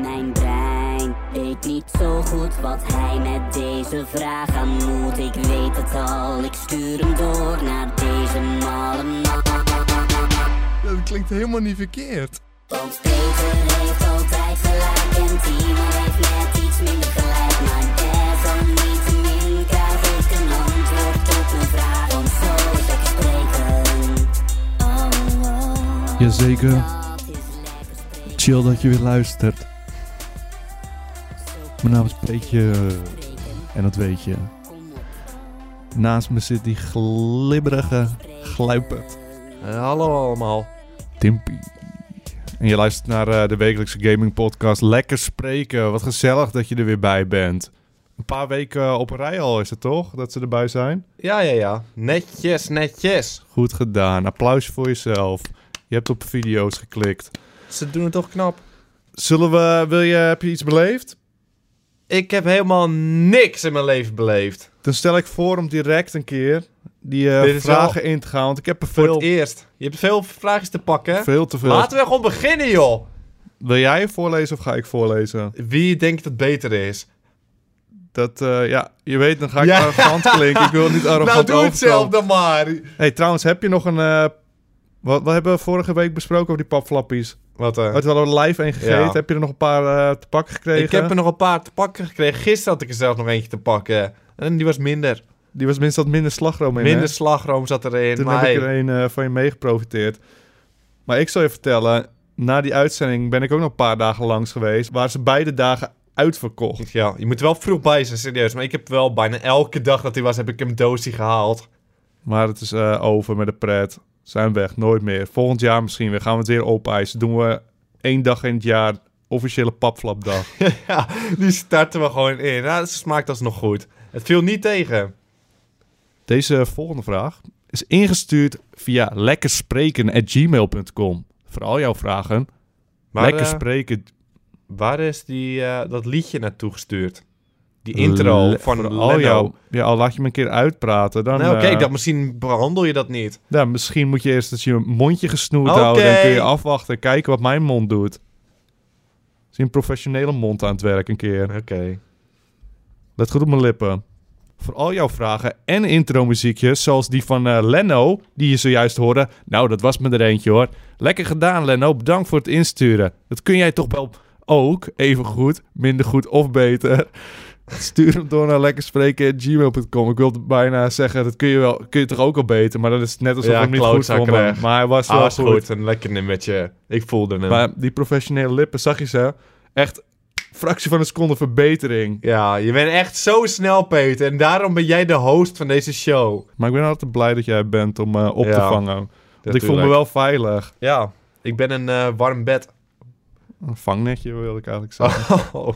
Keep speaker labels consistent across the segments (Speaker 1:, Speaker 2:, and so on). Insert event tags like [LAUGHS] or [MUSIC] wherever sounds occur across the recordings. Speaker 1: Mijn brein weet niet zo goed wat hij met deze vraag aan moet. Ik weet het al, ik stuur hem door naar deze malle man.
Speaker 2: Ja, dat klinkt helemaal niet verkeerd.
Speaker 1: Want Peter heeft altijd gelijk en Timo heeft net iets minder gelijk. Maar desalniettemin krijg ik een antwoord op mijn vraag. Want zo is lekker spreken. Oh, oh,
Speaker 2: Jazeker.
Speaker 1: dat is lekker spreken.
Speaker 2: Chill dat je weer luistert. Mijn naam is Peetje eh, en dat weet je. Naast me zit die glibberige gluipert.
Speaker 3: Eh, hallo allemaal.
Speaker 2: Timpy. En je luistert naar eh, de wekelijkse gaming podcast Lekker Spreken. Wat gezellig dat je er weer bij bent. Een paar weken eh, op een rij al is het toch, dat ze erbij zijn?
Speaker 3: Ja, ja, ja. Netjes, netjes.
Speaker 2: Goed gedaan. Applaus voor jezelf. Je hebt op video's geklikt.
Speaker 3: Ze doen het toch knap.
Speaker 2: Zullen we, wil je, heb je iets beleefd?
Speaker 3: Ik heb helemaal niks in mijn leven beleefd.
Speaker 2: Dan stel ik voor om direct een keer die eh,
Speaker 3: Dit is
Speaker 2: vragen in te gaan, want ik heb er
Speaker 3: Voor
Speaker 2: veel,
Speaker 3: het eerst. Je hebt veel vraagjes te pakken. hè?
Speaker 2: veel te veel.
Speaker 3: Laten we gewoon beginnen, joh.
Speaker 2: Wil jij voorlezen of ga ik voorlezen?
Speaker 3: Wie denkt dat beter is?
Speaker 2: Dat, eh, ja, je weet, dan ga ik
Speaker 3: Ja.
Speaker 2: arrogant klinken. Ik wil niet arrogant
Speaker 3: [LAUGHS] nou, doe het
Speaker 2: overkomen.
Speaker 3: zelf dan maar.
Speaker 2: hey, trouwens, heb je nog een... eh, wat, wat hebben we vorige week besproken over die papflappies?
Speaker 3: Wat eh?
Speaker 2: Had we al live één gegeten?
Speaker 3: Ja.
Speaker 2: Heb je er nog een paar eh, te pakken gekregen?
Speaker 3: Ik heb er nog een paar te pakken gekregen. Gisteren had ik er zelf nog eentje te pakken. En die was minder.
Speaker 2: Die was minstens wat minder slagroom in, hè?
Speaker 3: Minder slagroom zat erin.
Speaker 2: Toen
Speaker 3: maar
Speaker 2: heb ik
Speaker 3: hey,
Speaker 2: er een eh, van je meegeprofiteerd. Maar ik zal je vertellen, na die uitzending ben ik ook nog een paar dagen langs geweest. Waar ze beide dagen uitverkocht.
Speaker 3: Ja, je moet er wel vroeg bij zijn, serieus. Maar ik heb wel bijna elke dag dat hij was, heb ik hem doosje gehaald.
Speaker 2: Maar het is eh, over met de pret. Zijn weg, nooit meer. Volgend jaar misschien weer. Gaan we het weer opeisen. Doen we één dag in het jaar officiële papflapdag.
Speaker 3: [LAUGHS] ja, die starten we gewoon in. Nou, het smaakt alsnog goed. Het viel niet tegen.
Speaker 2: Deze volgende vraag is ingestuurd via lekkerspreken.gmail.com. Voor al jouw vragen,
Speaker 3: Maar,
Speaker 2: lekker
Speaker 3: eh,
Speaker 2: spreken.
Speaker 3: waar is die, eh, dat liedje naartoe gestuurd? Die intro
Speaker 2: Le-
Speaker 3: van
Speaker 2: voor
Speaker 3: Leno.
Speaker 2: al jouw. Ja, al laat je me een keer uitpraten. Dan,
Speaker 3: nou,
Speaker 2: eh,
Speaker 3: kijk, dat, misschien behandel je dat niet.
Speaker 2: Nou, misschien moet je eerst eens je mondje gesnoerd
Speaker 3: Oké.
Speaker 2: houden. Dan kun je afwachten en kijken wat mijn mond doet. Zie een professionele mond aan het werk een keer.
Speaker 3: Oké.
Speaker 2: Let goed op mijn lippen. Voor al jouw vragen en intro-muziekjes, zoals die van eh, Leno, die je zojuist hoorde. Nou, dat was me er eentje hoor. Lekker gedaan, Leno. Bedankt voor het insturen. Dat kun jij toch wel ook, even goed, minder goed of beter. [LAUGHS] Stuur hem door naar lekkerspreken.gmail.com. Ik wilde bijna zeggen, dat kun je, wel, kun je toch ook al beter. Maar dat is net alsof
Speaker 3: Ja,
Speaker 2: ik hem niet goed
Speaker 3: klootzak
Speaker 2: vond.
Speaker 3: krijg.
Speaker 2: Maar hij was wel
Speaker 3: Ah, is
Speaker 2: goed.
Speaker 3: goed. Een lekker nummertje. Ik voelde hem.
Speaker 2: Maar die professionele lippen, zag je ze? Echt fractie van een seconde verbetering.
Speaker 3: ja, je bent echt zo snel, Peter. En daarom ben jij de host van deze show.
Speaker 2: Maar ik ben altijd blij dat jij bent om eh, op te
Speaker 3: Ja,
Speaker 2: vangen. Want ik voel me
Speaker 3: Natuurlijk.
Speaker 2: wel veilig.
Speaker 3: Ja, ik ben een eh, warm bed.
Speaker 2: Een vangnetje wilde ik eigenlijk zeggen. Oh.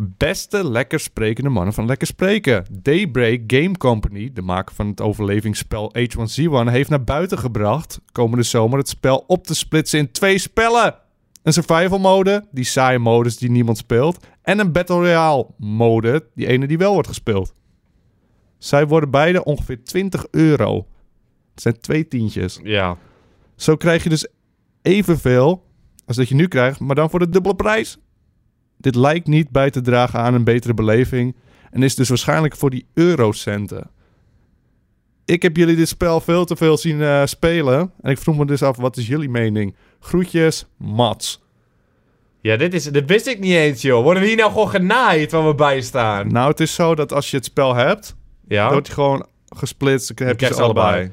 Speaker 2: Beste lekker sprekende mannen van Lekker Spreken. Daybreak Game Company, de maker van het overlevingsspel H1Z1, heeft naar buiten gebracht komende zomer het spel op te splitsen in twee spellen. Een survival mode, die saaie modus die niemand speelt, en een battle royale mode, die ene die wel wordt gespeeld. Zij worden beide ongeveer 20 euro. Het zijn twee tientjes.
Speaker 3: [LAUGHS] ja.
Speaker 2: Zo krijg je dus evenveel als dat je nu krijgt, maar dan voor de dubbele prijs. Dit lijkt niet bij te dragen aan een betere beleving en is dus waarschijnlijk voor die eurocenten. Ik heb jullie dit spel veel te veel zien eh, spelen en ik vroeg me dus af, wat is jullie mening? Groetjes, Mats.
Speaker 3: Ja, dit, is, dit wist ik niet eens, joh. Worden we hier nou gewoon genaaid waar we bij staan?
Speaker 2: Nou, het is zo dat als je het spel hebt,
Speaker 3: Ja,
Speaker 2: dan wordt hij gewoon gesplitst. Dan
Speaker 3: Je
Speaker 2: heb je
Speaker 3: krijgt
Speaker 2: ze allebei.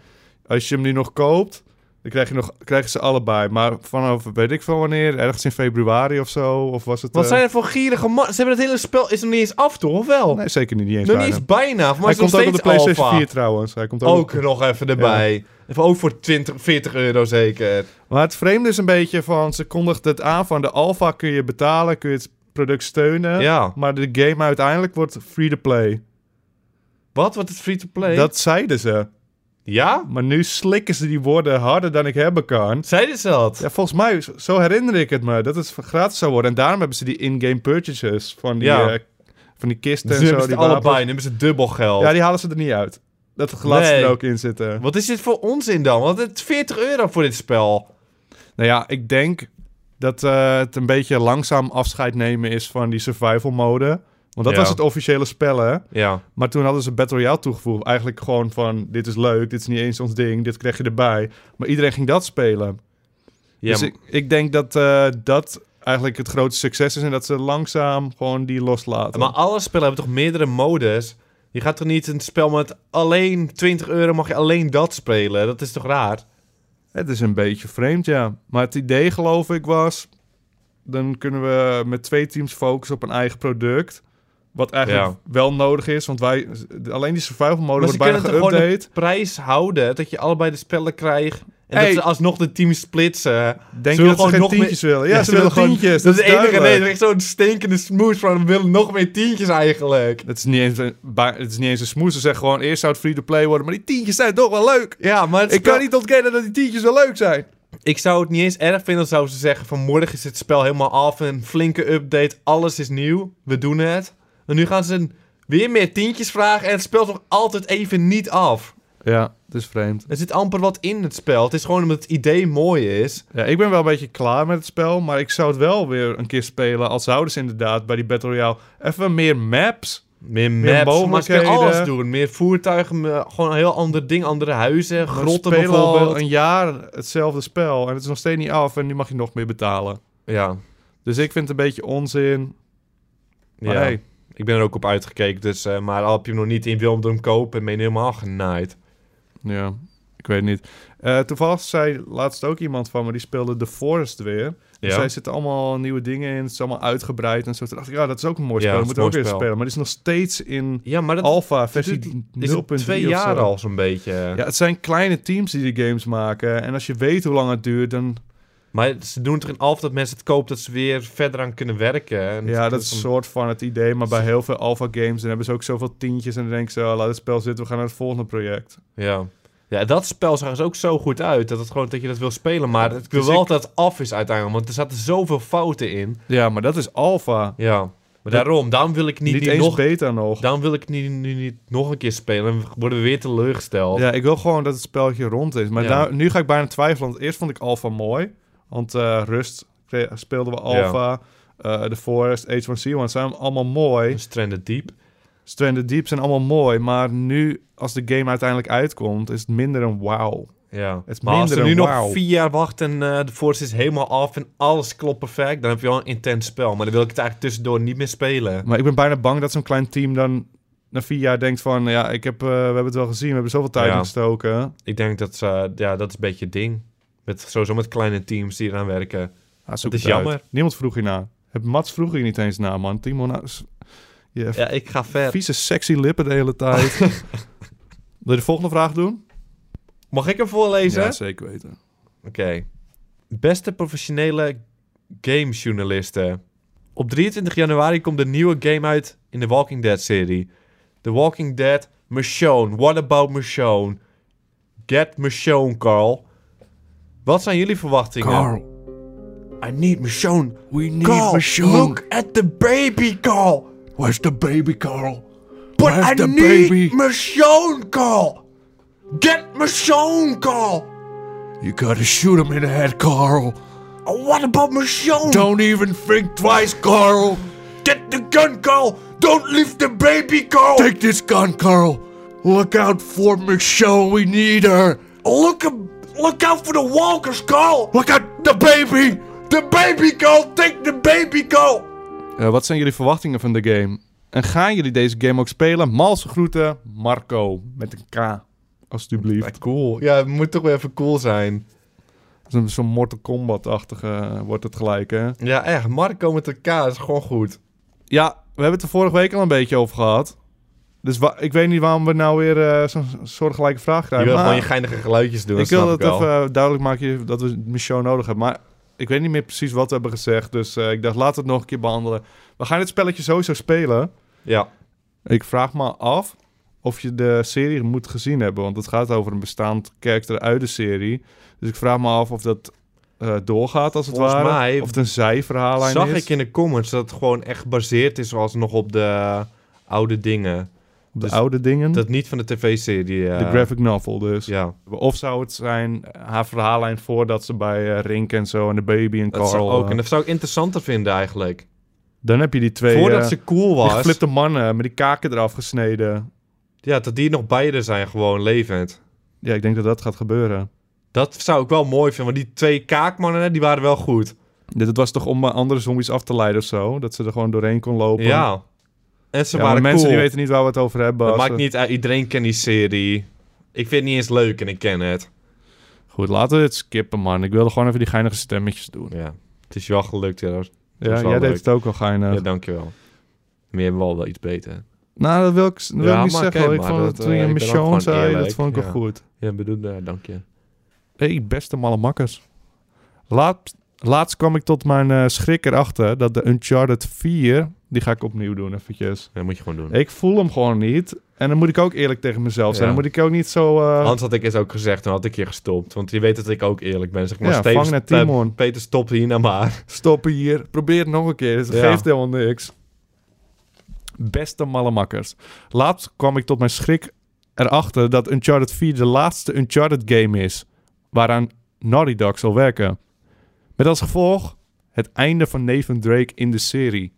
Speaker 2: Als je hem nu nog koopt, dan krijg je, nog, krijg je ze allebei. Maar vanaf, weet ik van wanneer, ergens in februari of zo, of was het...
Speaker 3: Wat
Speaker 2: eh,
Speaker 3: zijn er voor gierige man? Ze hebben het hele spel is nog niet eens af, toch? Of wel?
Speaker 2: Nee, zeker niet. Niet eens
Speaker 3: Oh. nog niet
Speaker 2: bijna.
Speaker 3: eens bijna. Maar
Speaker 2: Hij
Speaker 3: is nog
Speaker 2: komt ook op de
Speaker 3: steeds
Speaker 2: PlayStation
Speaker 3: alpha.
Speaker 2: 4 trouwens. Hij komt ook
Speaker 3: Ook nog even erbij. Even Ook voor 20, 40 euro zeker.
Speaker 2: Maar het vreemde is een beetje van... ze kondigt het aan van de alpha kun je betalen... kun je het product steunen...
Speaker 3: Ja.
Speaker 2: maar de game uiteindelijk wordt free-to-play.
Speaker 3: Wat? Wordt het free-to-play?
Speaker 2: Dat zeiden ze.
Speaker 3: Ja?
Speaker 2: Maar nu slikken ze die woorden harder dan ik hebben kan...
Speaker 3: Zeiden ze dat?
Speaker 2: Ja, volgens mij, zo- zo herinner ik het me, dat het gratis zou worden. En daarom hebben ze die in-game purchases van die,
Speaker 3: Ja.
Speaker 2: eh, van die kisten
Speaker 3: Dus nu
Speaker 2: en zo.
Speaker 3: hebben ze
Speaker 2: die
Speaker 3: het allebei.
Speaker 2: wapens.
Speaker 3: Nu hebben ze dubbel geld.
Speaker 2: Ja, die halen ze er niet uit. Dat laten ze
Speaker 3: Nee.
Speaker 2: er ook in zitten.
Speaker 3: Wat is dit voor onzin dan? Want het is 40 euro voor dit spel.
Speaker 2: Nou ja, ik denk dat eh, het een beetje langzaam afscheid nemen is van die survival mode. Want dat
Speaker 3: Ja.
Speaker 2: was het officiële spel, hè?
Speaker 3: Ja.
Speaker 2: Maar toen hadden ze Battle Royale toegevoegd. Eigenlijk gewoon van, dit is leuk, dit is niet eens ons ding, dit krijg je erbij. Maar iedereen ging dat spelen.
Speaker 3: ja
Speaker 2: dus
Speaker 3: maar-
Speaker 2: ik, ik denk dat eh, dat eigenlijk het grote succes is... en dat ze langzaam gewoon die loslaten.
Speaker 3: Maar alle spellen hebben toch meerdere modus? Je gaat toch niet een spel met alleen 20 euro mag je alleen dat spelen? Dat is toch raar?
Speaker 2: Het is een beetje vreemd, ja. Maar het idee, geloof ik, was... dan kunnen we met twee teams focussen op een eigen product... Wat eigenlijk
Speaker 3: Ja.
Speaker 2: wel nodig is, want wij... Alleen die survival mode wordt
Speaker 3: ze
Speaker 2: bijna
Speaker 3: kunnen toch gewoon
Speaker 2: geüpdate.
Speaker 3: de prijs houden dat je allebei de spellen krijgt. En
Speaker 2: Hey.
Speaker 3: dat ze alsnog de teams splitsen.
Speaker 2: Denk
Speaker 3: Ze
Speaker 2: je dat
Speaker 3: willen
Speaker 2: ze
Speaker 3: gewoon
Speaker 2: geen
Speaker 3: nog meer-
Speaker 2: tientjes willen? Ja, ze, willen gewoon tientjes.
Speaker 3: Dat is de enige
Speaker 2: duidelijk.
Speaker 3: reden. Echt zo'n stinkende smoes van we willen nog meer tientjes eigenlijk.
Speaker 2: Het is niet eens een, ba- het is niet eens een smoes. Ze zeggen gewoon, eerst zou het free-to-play worden, maar die tientjes zijn toch wel leuk.
Speaker 3: Ja, maar het
Speaker 2: Ik
Speaker 3: spel-
Speaker 2: kan niet ontkennen dat die tientjes wel leuk zijn.
Speaker 3: ik zou het niet eens erg vinden als ze zeggen van morgen is het spel helemaal af. Een flinke update. Alles is nieuw. We doen het. En nu gaan ze een- weer meer tientjes vragen. En het spel is nog altijd even niet af.
Speaker 2: Ja, het is vreemd.
Speaker 3: Er zit amper wat in het spel. Het is gewoon omdat het idee mooi is.
Speaker 2: Ja, ik ben wel een beetje klaar met het spel, maar ik zou het wel weer een keer spelen als zouden ze inderdaad bij die Battle Royale even meer maps.
Speaker 3: Meer
Speaker 2: Meer
Speaker 3: maps, maar ze kunnen
Speaker 2: mogelijkheden.
Speaker 3: alles doen. Meer voertuigen, me- gewoon een heel ander ding. Andere huizen,
Speaker 2: We
Speaker 3: grotten
Speaker 2: spelen al
Speaker 3: bijvoorbeeld.
Speaker 2: een jaar hetzelfde spel en het is nog steeds niet af en nu mag je nog meer betalen.
Speaker 3: Ja,
Speaker 2: Dus ik vind het een beetje onzin. Maar
Speaker 3: ja.
Speaker 2: hey,
Speaker 3: ik ben er ook op uitgekeken. Dus, eh, maar al heb je hem nog niet in wil hem kopen, ben je helemaal genaaid.
Speaker 2: Ja, ik weet niet. Eh, toevallig zei laatst ook iemand van me, die speelde The Forest weer. Dus
Speaker 3: Ja.
Speaker 2: daar zitten allemaal nieuwe dingen in, het is allemaal uitgebreid en zo. Toen dacht ik, ja, dat is ook een mooi
Speaker 3: Ja,
Speaker 2: spel, dat
Speaker 3: dat
Speaker 2: moet ik
Speaker 3: is
Speaker 2: ook
Speaker 3: een
Speaker 2: weer
Speaker 3: mooi spel.
Speaker 2: spelen. Maar het is nog steeds in
Speaker 3: Ja, maar dat
Speaker 2: alpha
Speaker 3: doet-
Speaker 2: versie 0.3
Speaker 3: is het twee
Speaker 2: of zo.
Speaker 3: jaar al zo'n beetje.
Speaker 2: Ja, het zijn kleine teams die de games maken. En als je weet hoe lang het duurt, dan...
Speaker 3: Maar ze doen toch in alf dat mensen het kopen dat ze weer verder aan kunnen werken. En
Speaker 2: Ja, dat is een
Speaker 3: dan-
Speaker 2: soort van het idee. Maar bij heel veel alpha games, dan hebben ze ook zoveel tientjes. En dan denk ik zo, laat het spel zitten, we gaan naar het volgende project.
Speaker 3: Ja. ja, dat spel zag er ook zo goed uit. Dat, het gewoon, dat je dat wil spelen. Maar ik wil
Speaker 2: Dus
Speaker 3: wel
Speaker 2: ik-
Speaker 3: dat het af is uiteindelijk. Want er zaten zoveel fouten in.
Speaker 2: Ja, maar dat is alpha.
Speaker 3: Ja. Maar daarom, daarom wil ik niet,
Speaker 2: Niet,
Speaker 3: niet
Speaker 2: eens
Speaker 3: nog...
Speaker 2: beta nog.
Speaker 3: Daarom wil ik nu, nu niet nog een keer spelen. Dan worden we weer teleurgesteld.
Speaker 2: Ja, ik wil gewoon dat het spelletje rond is. Maar
Speaker 3: Ja.
Speaker 2: nou- nu ga ik bijna twijfelen. Want eerst vond ik Alpha mooi. Want eh, Rust kre- speelden we Alpha. eh The Forest, H1C1 zijn allemaal mooi.
Speaker 3: Dus Stranded Deep.
Speaker 2: Stranded Deep zijn allemaal mooi. Maar nu, als de game uiteindelijk uitkomt, is het minder een wow.
Speaker 3: Ja.
Speaker 2: Het is
Speaker 3: maar als we
Speaker 2: minder
Speaker 3: nu
Speaker 2: een
Speaker 3: nog
Speaker 2: wauw.
Speaker 3: vier jaar wachten en eh, de Force is helemaal af en alles klopt perfect, dan heb je wel een intens spel. Maar dan wil ik het eigenlijk tussendoor niet meer spelen.
Speaker 2: Maar ik ben bijna bang dat zo'n klein team dan na vier jaar denkt van... Ja, ik heb, eh, we hebben het wel gezien. We hebben zoveel tijd
Speaker 3: Ja.
Speaker 2: in gestoken.
Speaker 3: Ik denk dat, ze, eh, ja, dat is een beetje het ding. Met, sowieso met kleine teams die eraan werken.
Speaker 2: Ah, zoek
Speaker 3: Dat is
Speaker 2: het uit.
Speaker 3: jammer.
Speaker 2: Niemand vroeg hierna. Het Mats vroeg hier niet eens na, man. Timo, nou, s- je
Speaker 3: Ja, ik ga ver.
Speaker 2: Vieze sexy lippen de hele [LAUGHS] tijd. Wil je de volgende vraag doen?
Speaker 3: Mag ik hem voorlezen?
Speaker 2: zeker weten.
Speaker 3: Oké. Beste professionele gamejournalisten. Op 23 januari komt de nieuwe game uit in de Walking Dead serie. The Walking Dead Michonne. What about Michonne? Get Michonne, Carl. Wat zijn jullie verwachtingen? I need Michonne.
Speaker 2: we need
Speaker 3: Carl, look at the baby, Carl.
Speaker 2: Where's the baby, Carl?
Speaker 3: But
Speaker 2: Where's
Speaker 3: I
Speaker 2: the
Speaker 3: need
Speaker 2: baby?
Speaker 3: Michonne, Carl. Get Michonne, Carl.
Speaker 2: You gotta shoot him in the head, Carl.
Speaker 3: What about Michonne?
Speaker 2: Don't even think twice, Carl.
Speaker 3: Get the gun, Carl! Don't leave the baby, Carl!
Speaker 2: Take this gun, Carl. Look out for Michonne. We need her.
Speaker 3: look, look out for the walkers, Carl!
Speaker 2: Look out the baby.
Speaker 3: The baby, Carl! Take the baby, Carl!
Speaker 2: Eh, wat zijn jullie verwachtingen van de game? En gaan jullie deze game ook spelen? Malse groeten, Marco. Met een K. Alsjeblieft.
Speaker 3: Cool. Ja, het moet toch wel even cool zijn.
Speaker 2: Zo'n zo'n Mortal Kombat-achtige eh, wordt het gelijk, hè?
Speaker 3: Ja, echt. Marco met elkaar is gewoon goed.
Speaker 2: Ja, we hebben het er vorige week al een beetje over gehad. Dus wa- ik weet niet waarom we nou weer eh, zo'n soortgelijke vraag
Speaker 3: Je
Speaker 2: krijgen.
Speaker 3: wil
Speaker 2: maar
Speaker 3: gewoon je geinige geluidjes doen,
Speaker 2: ik wil
Speaker 3: snap
Speaker 2: dat
Speaker 3: ik wel.
Speaker 2: even eh, duidelijk maken dat we Michel nodig hebben. Maar ik weet niet meer precies wat we hebben gezegd. Dus eh, ik dacht, laten we het nog een keer behandelen. We gaan dit spelletje sowieso spelen.
Speaker 3: Ja.
Speaker 2: Ik vraag me af of je de serie moet gezien hebben. Want het gaat over een bestaand karakter uit de serie. Dus ik vraag me af of dat eh, doorgaat als het
Speaker 3: Volgens
Speaker 2: ware.
Speaker 3: mij
Speaker 2: of het een zijverhaallijn
Speaker 3: Zag
Speaker 2: is.
Speaker 3: ik in de comments dat het gewoon echt gebaseerd is zoals nog op de oude dingen.
Speaker 2: Op de
Speaker 3: Dus
Speaker 2: oude dingen.
Speaker 3: Dat niet van de tv-serie. eh,
Speaker 2: de graphic novel dus.
Speaker 3: Ja.
Speaker 2: Of zou het zijn eh, haar verhaallijn voordat ze bij eh, Rink en zo en de baby en
Speaker 3: Dat
Speaker 2: Carl...
Speaker 3: zou ook.
Speaker 2: eh,
Speaker 3: En dat zou ik interessanter vinden eigenlijk.
Speaker 2: Dan heb je die twee...
Speaker 3: Voordat
Speaker 2: eh,
Speaker 3: ze cool
Speaker 2: die
Speaker 3: was.
Speaker 2: geflipte mannen met die kaken eraf gesneden.
Speaker 3: Ja, dat die nog beide zijn gewoon levend.
Speaker 2: Ja, ik denk dat dat gaat gebeuren.
Speaker 3: Dat zou ik wel mooi vinden. Want die twee kaakmannen, die waren wel goed.
Speaker 2: Dit het was toch om eh, andere zombies af te leiden of zo? Dat ze er gewoon doorheen kon lopen.
Speaker 3: Ja. En ze
Speaker 2: Ja, maar
Speaker 3: waren
Speaker 2: mensen
Speaker 3: cool.
Speaker 2: die weten niet waar we het over hebben.
Speaker 3: dat
Speaker 2: Als
Speaker 3: maakt
Speaker 2: we-
Speaker 3: niet uit. Iedereen kent die serie. Ik vind het niet eens leuk en ik ken het.
Speaker 2: Goed, laten we dit skippen, man. Ik wilde gewoon even die geinige stemmetjes doen.
Speaker 3: Ja. Het is je wel gelukt, ja.
Speaker 2: Ja,
Speaker 3: is
Speaker 2: jij
Speaker 3: wel
Speaker 2: deed
Speaker 3: leuk.
Speaker 2: het ook al geinig.
Speaker 3: Ja, dankjewel. Maar je hebt wel wel iets beter.
Speaker 2: Nou, dat wil ik, dat wil
Speaker 3: Ja,
Speaker 2: ik niet
Speaker 3: maar
Speaker 2: zeggen.
Speaker 3: oké,
Speaker 2: hoor. ik
Speaker 3: maar
Speaker 2: vond
Speaker 3: dat,
Speaker 2: het toen
Speaker 3: eh,
Speaker 2: je
Speaker 3: ik
Speaker 2: met
Speaker 3: ben ook
Speaker 2: Sean
Speaker 3: gewoon
Speaker 2: zei, dat
Speaker 3: eerlijk,
Speaker 2: vond ik
Speaker 3: ja.
Speaker 2: wel goed.
Speaker 3: Ja, bedoel,
Speaker 2: eh,
Speaker 3: ja, dank je.
Speaker 2: hey, beste malle makkers. Laat, laatst kwam ik tot mijn eh, schrik erachter dat de Uncharted 4... Die ga ik opnieuw doen, eventjes.
Speaker 3: Dat moet je gewoon doen.
Speaker 2: Ik voel hem gewoon niet. En dan moet ik ook eerlijk tegen mezelf zijn.
Speaker 3: Ja.
Speaker 2: Dan moet ik ook niet zo... eh,
Speaker 3: Hans had ik eens ook gezegd, dan had ik je gestopt. Want je weet dat ik ook eerlijk ben. Zeg maar,
Speaker 2: Ja,
Speaker 3: Steven,
Speaker 2: vang naar
Speaker 3: Pe-
Speaker 2: Timon.
Speaker 3: Peter, stop hier nou maar. [LAUGHS]
Speaker 2: Stoppen hier. Probeer het nog een keer. Het
Speaker 3: Ja.
Speaker 2: geeft helemaal niks. Beste malle makkers. Laatst kwam ik tot mijn schrik erachter dat Uncharted 4 de laatste Uncharted game is. Waaraan Naughty Dog zal werken. Met als gevolg het einde van Nathan Drake in de serie.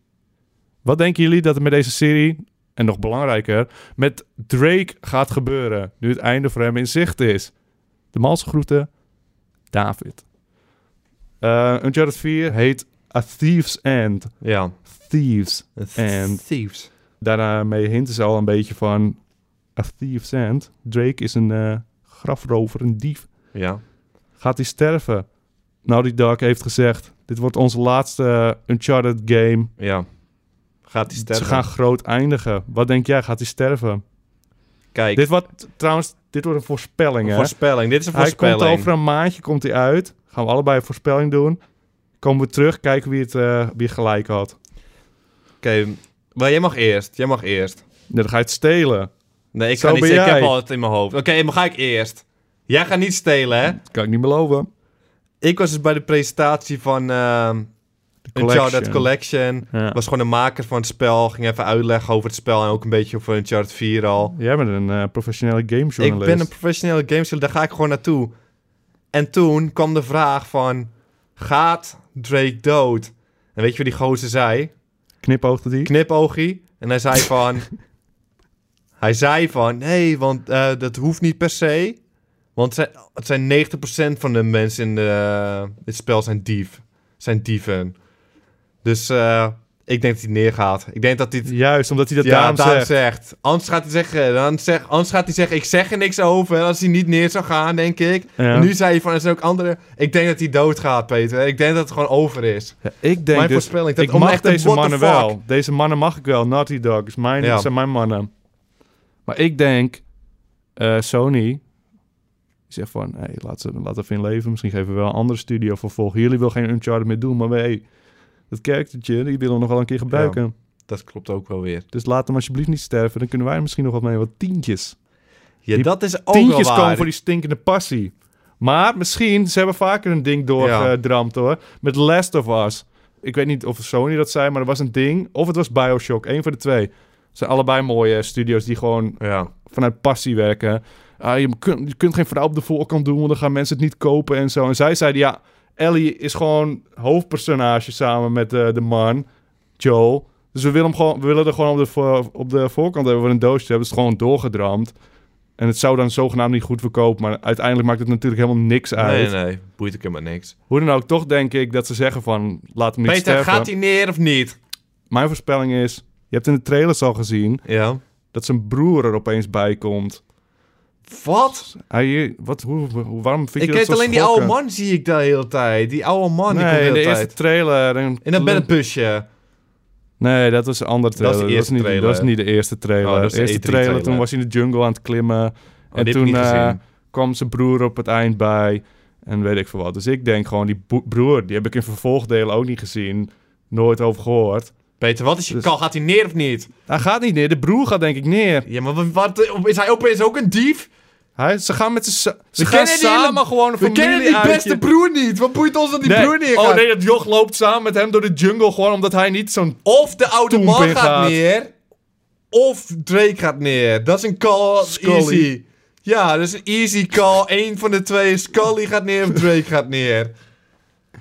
Speaker 2: Wat denken jullie dat er met deze serie, en nog belangrijker, met Drake gaat gebeuren? Nu het einde voor hem in zicht is. De malse groeten, David. Eh Uncharted 4 heet A Thieves End.
Speaker 3: Ja.
Speaker 2: Thieves. En-
Speaker 3: Thieves.
Speaker 2: Daarmee hinten ze al een beetje van... A Thieves End. Drake is een eh, grafrover, een dief.
Speaker 3: Ja.
Speaker 2: Gaat hij sterven? Nou, die Dog heeft gezegd... Dit wordt onze laatste eh, Uncharted game.
Speaker 3: Ja. Gaat die sterren.
Speaker 2: Ze gaan groot eindigen. Wat denk jij? Gaat hij sterven?
Speaker 3: Kijk,
Speaker 2: Dit wordt trouwens... Dit wordt een voorspelling,
Speaker 3: een
Speaker 2: hè?
Speaker 3: voorspelling. Dit is een
Speaker 2: Hij
Speaker 3: voorspelling.
Speaker 2: komt over een maandje komt hij uit. Gaan we allebei een voorspelling doen. Komen we terug, kijken wie het eh, wie gelijk had.
Speaker 3: Oké, maar jij mag eerst. Jij mag eerst.
Speaker 2: Ja, Nou, dan ga je het stelen.
Speaker 3: Nee, ik
Speaker 2: Zo
Speaker 3: kan niet
Speaker 2: ben
Speaker 3: zeggen. Ik
Speaker 2: jij.
Speaker 3: heb al het in mijn hoofd. Oké, maar ga ik eerst. Jij gaat niet stelen, hè?
Speaker 2: Kan ik niet beloven.
Speaker 3: Ik was dus bij de presentatie van ehm Uncharted Collection.
Speaker 2: Ja.
Speaker 3: Was gewoon de maker van het spel. Ging even uitleggen over het spel en ook een beetje over Uncharted 4 al.
Speaker 2: Jij bent een eh, professionele gamejournalist.
Speaker 3: Ik ben een professionele gameseller, daar ga ik gewoon naartoe. En toen kwam de vraag van, gaat Drake dood? En weet je wat die gozer zei?
Speaker 2: knipoogde die.
Speaker 3: Knipoogie. En hij
Speaker 2: [LAUGHS]
Speaker 3: zei van, hij zei van, nee, want eh, dat hoeft niet per se. Want ze- het zijn 90% van de mensen in de, dit spel zijn dief. Zijn dieven. Dus eh, ik denk dat hij neergaat. Ik denk dat hij het
Speaker 2: Juist, omdat hij dat
Speaker 3: ja,
Speaker 2: daarom
Speaker 3: Daan zegt.
Speaker 2: zegt.
Speaker 3: Anders gaat hij zeggen, dan zeg, anders gaat hij zeggen, ik zeg er niks over. Als hij niet neer zou gaan, denk ik.
Speaker 2: Ja.
Speaker 3: Nu zei hij van, er zijn ook anderen. Ik denk dat hij doodgaat, Peter. Ik denk dat het gewoon over is.
Speaker 2: Ja, ik denk
Speaker 3: Mijn
Speaker 2: dus,
Speaker 3: voorspelling. Dat
Speaker 2: ik
Speaker 3: om
Speaker 2: mag
Speaker 3: echt een
Speaker 2: deze
Speaker 3: what the
Speaker 2: mannen
Speaker 3: fuck.
Speaker 2: wel. Deze mannen mag ik wel. Naughty Dog is mijn,
Speaker 3: Ja.
Speaker 2: zijn mijn mannen. Maar ik denk, eh, Sony die zegt van, hey, laat, ze, laat even in leven. Misschien geven we wel een andere studio voor volgen. Jullie wil geen Uncharted meer doen, maar hey, dat karaktertje, die willen we nog wel een keer gebruiken.
Speaker 3: Dat klopt ook wel weer.
Speaker 2: Dus laat hem alsjeblieft niet sterven. Dan kunnen wij er misschien nog wat mee, wat tientjes.
Speaker 3: Ja,
Speaker 2: Die
Speaker 3: dat is ook wel
Speaker 2: tientjes
Speaker 3: waar.
Speaker 2: komen voor die stinkende passie. Maar misschien, ze hebben vaker een ding doorgedramd hoor. Met Last of Us. Ik weet niet of Sony dat zei, maar er was een ding. Of het was Bioshock, één van de twee. Het zijn allebei mooie studio's die gewoon
Speaker 3: Ja.
Speaker 2: vanuit passie werken. Ah, je, kunt, je kunt geen vrouw op de voorkant doen, want dan gaan mensen het niet kopen en zo. En zij zeiden, ja, Ellie is gewoon hoofdpersonage samen met eh, de man, Joel. Dus we willen, hem gewoon, we willen er gewoon op de, vo- op de voorkant hebben we een doosje. Hebben ze het gewoon doorgedramd. En het zou dan zogenaamd niet goed verkopen, maar uiteindelijk maakt het natuurlijk helemaal niks uit.
Speaker 3: Nee, nee. Boeit ik helemaal niks.
Speaker 2: Hoe dan ook, toch denk ik dat ze zeggen van, laat hem niet
Speaker 3: Peter,
Speaker 2: sterven.
Speaker 3: gaat hij neer of niet?
Speaker 2: Mijn voorspelling is, je hebt in de trailers al gezien,
Speaker 3: Ja.
Speaker 2: dat zijn broer er opeens bij komt.
Speaker 3: Wat?
Speaker 2: Hij, wat, hoe, hoe- waarom vind
Speaker 3: Ik
Speaker 2: je dat
Speaker 3: weet
Speaker 2: zo
Speaker 3: alleen die oude
Speaker 2: schokkend?
Speaker 3: man zie ik de hele tijd. Die oude man die komt de
Speaker 2: Nee, in de
Speaker 3: hele
Speaker 2: eerste
Speaker 3: tijd.
Speaker 2: trailer. En,
Speaker 3: In dat busje.
Speaker 2: Nee, dat was een andere
Speaker 3: Dat is de
Speaker 2: trailer. Dat,
Speaker 3: eerste
Speaker 2: was niet,
Speaker 3: trailer.
Speaker 2: dat was niet de eerste trailer.
Speaker 3: Oh, dat is
Speaker 2: de
Speaker 3: de
Speaker 2: eerste
Speaker 3: E3
Speaker 2: trailer,
Speaker 3: trailer.
Speaker 2: toen was hij in de jungle aan het klimmen.
Speaker 3: Oh, die heb ik
Speaker 2: toen,
Speaker 3: niet
Speaker 2: eh,
Speaker 3: gezien.
Speaker 2: kwam zijn broer op het eind bij. En weet ik veel wat. Dus ik denk gewoon, die bo- broer, die heb ik in vervolgdelen ook niet gezien. Nooit over gehoord.
Speaker 3: Peter, wat is je
Speaker 2: dus-
Speaker 3: kal? Gaat hij neer of niet?
Speaker 2: Hij gaat niet neer. De broer gaat denk ik neer.
Speaker 3: Ja, maar wat, wat- is hij opeens ook een dief?
Speaker 2: Hij, ze gaan met z'n... Ze
Speaker 3: We
Speaker 2: gaan
Speaker 3: kennen die hele-
Speaker 2: samen gewoon een
Speaker 3: We kennen die
Speaker 2: familieuitje.
Speaker 3: beste broer niet. Wat boeit ons dat die
Speaker 2: Nee.
Speaker 3: broer neergaat?
Speaker 2: Oh nee, dat joch loopt samen met hem door de jungle gewoon omdat hij niet zo'n...
Speaker 3: Of de oude
Speaker 2: Toen
Speaker 3: man
Speaker 2: weer
Speaker 3: gaat
Speaker 2: gaat.
Speaker 3: neer. of Drake gaat neer. Dat is een call
Speaker 2: Scully.
Speaker 3: easy. Ja, dat is een easy call. Eén van de twee. Scully gaat neer of Drake gaat neer.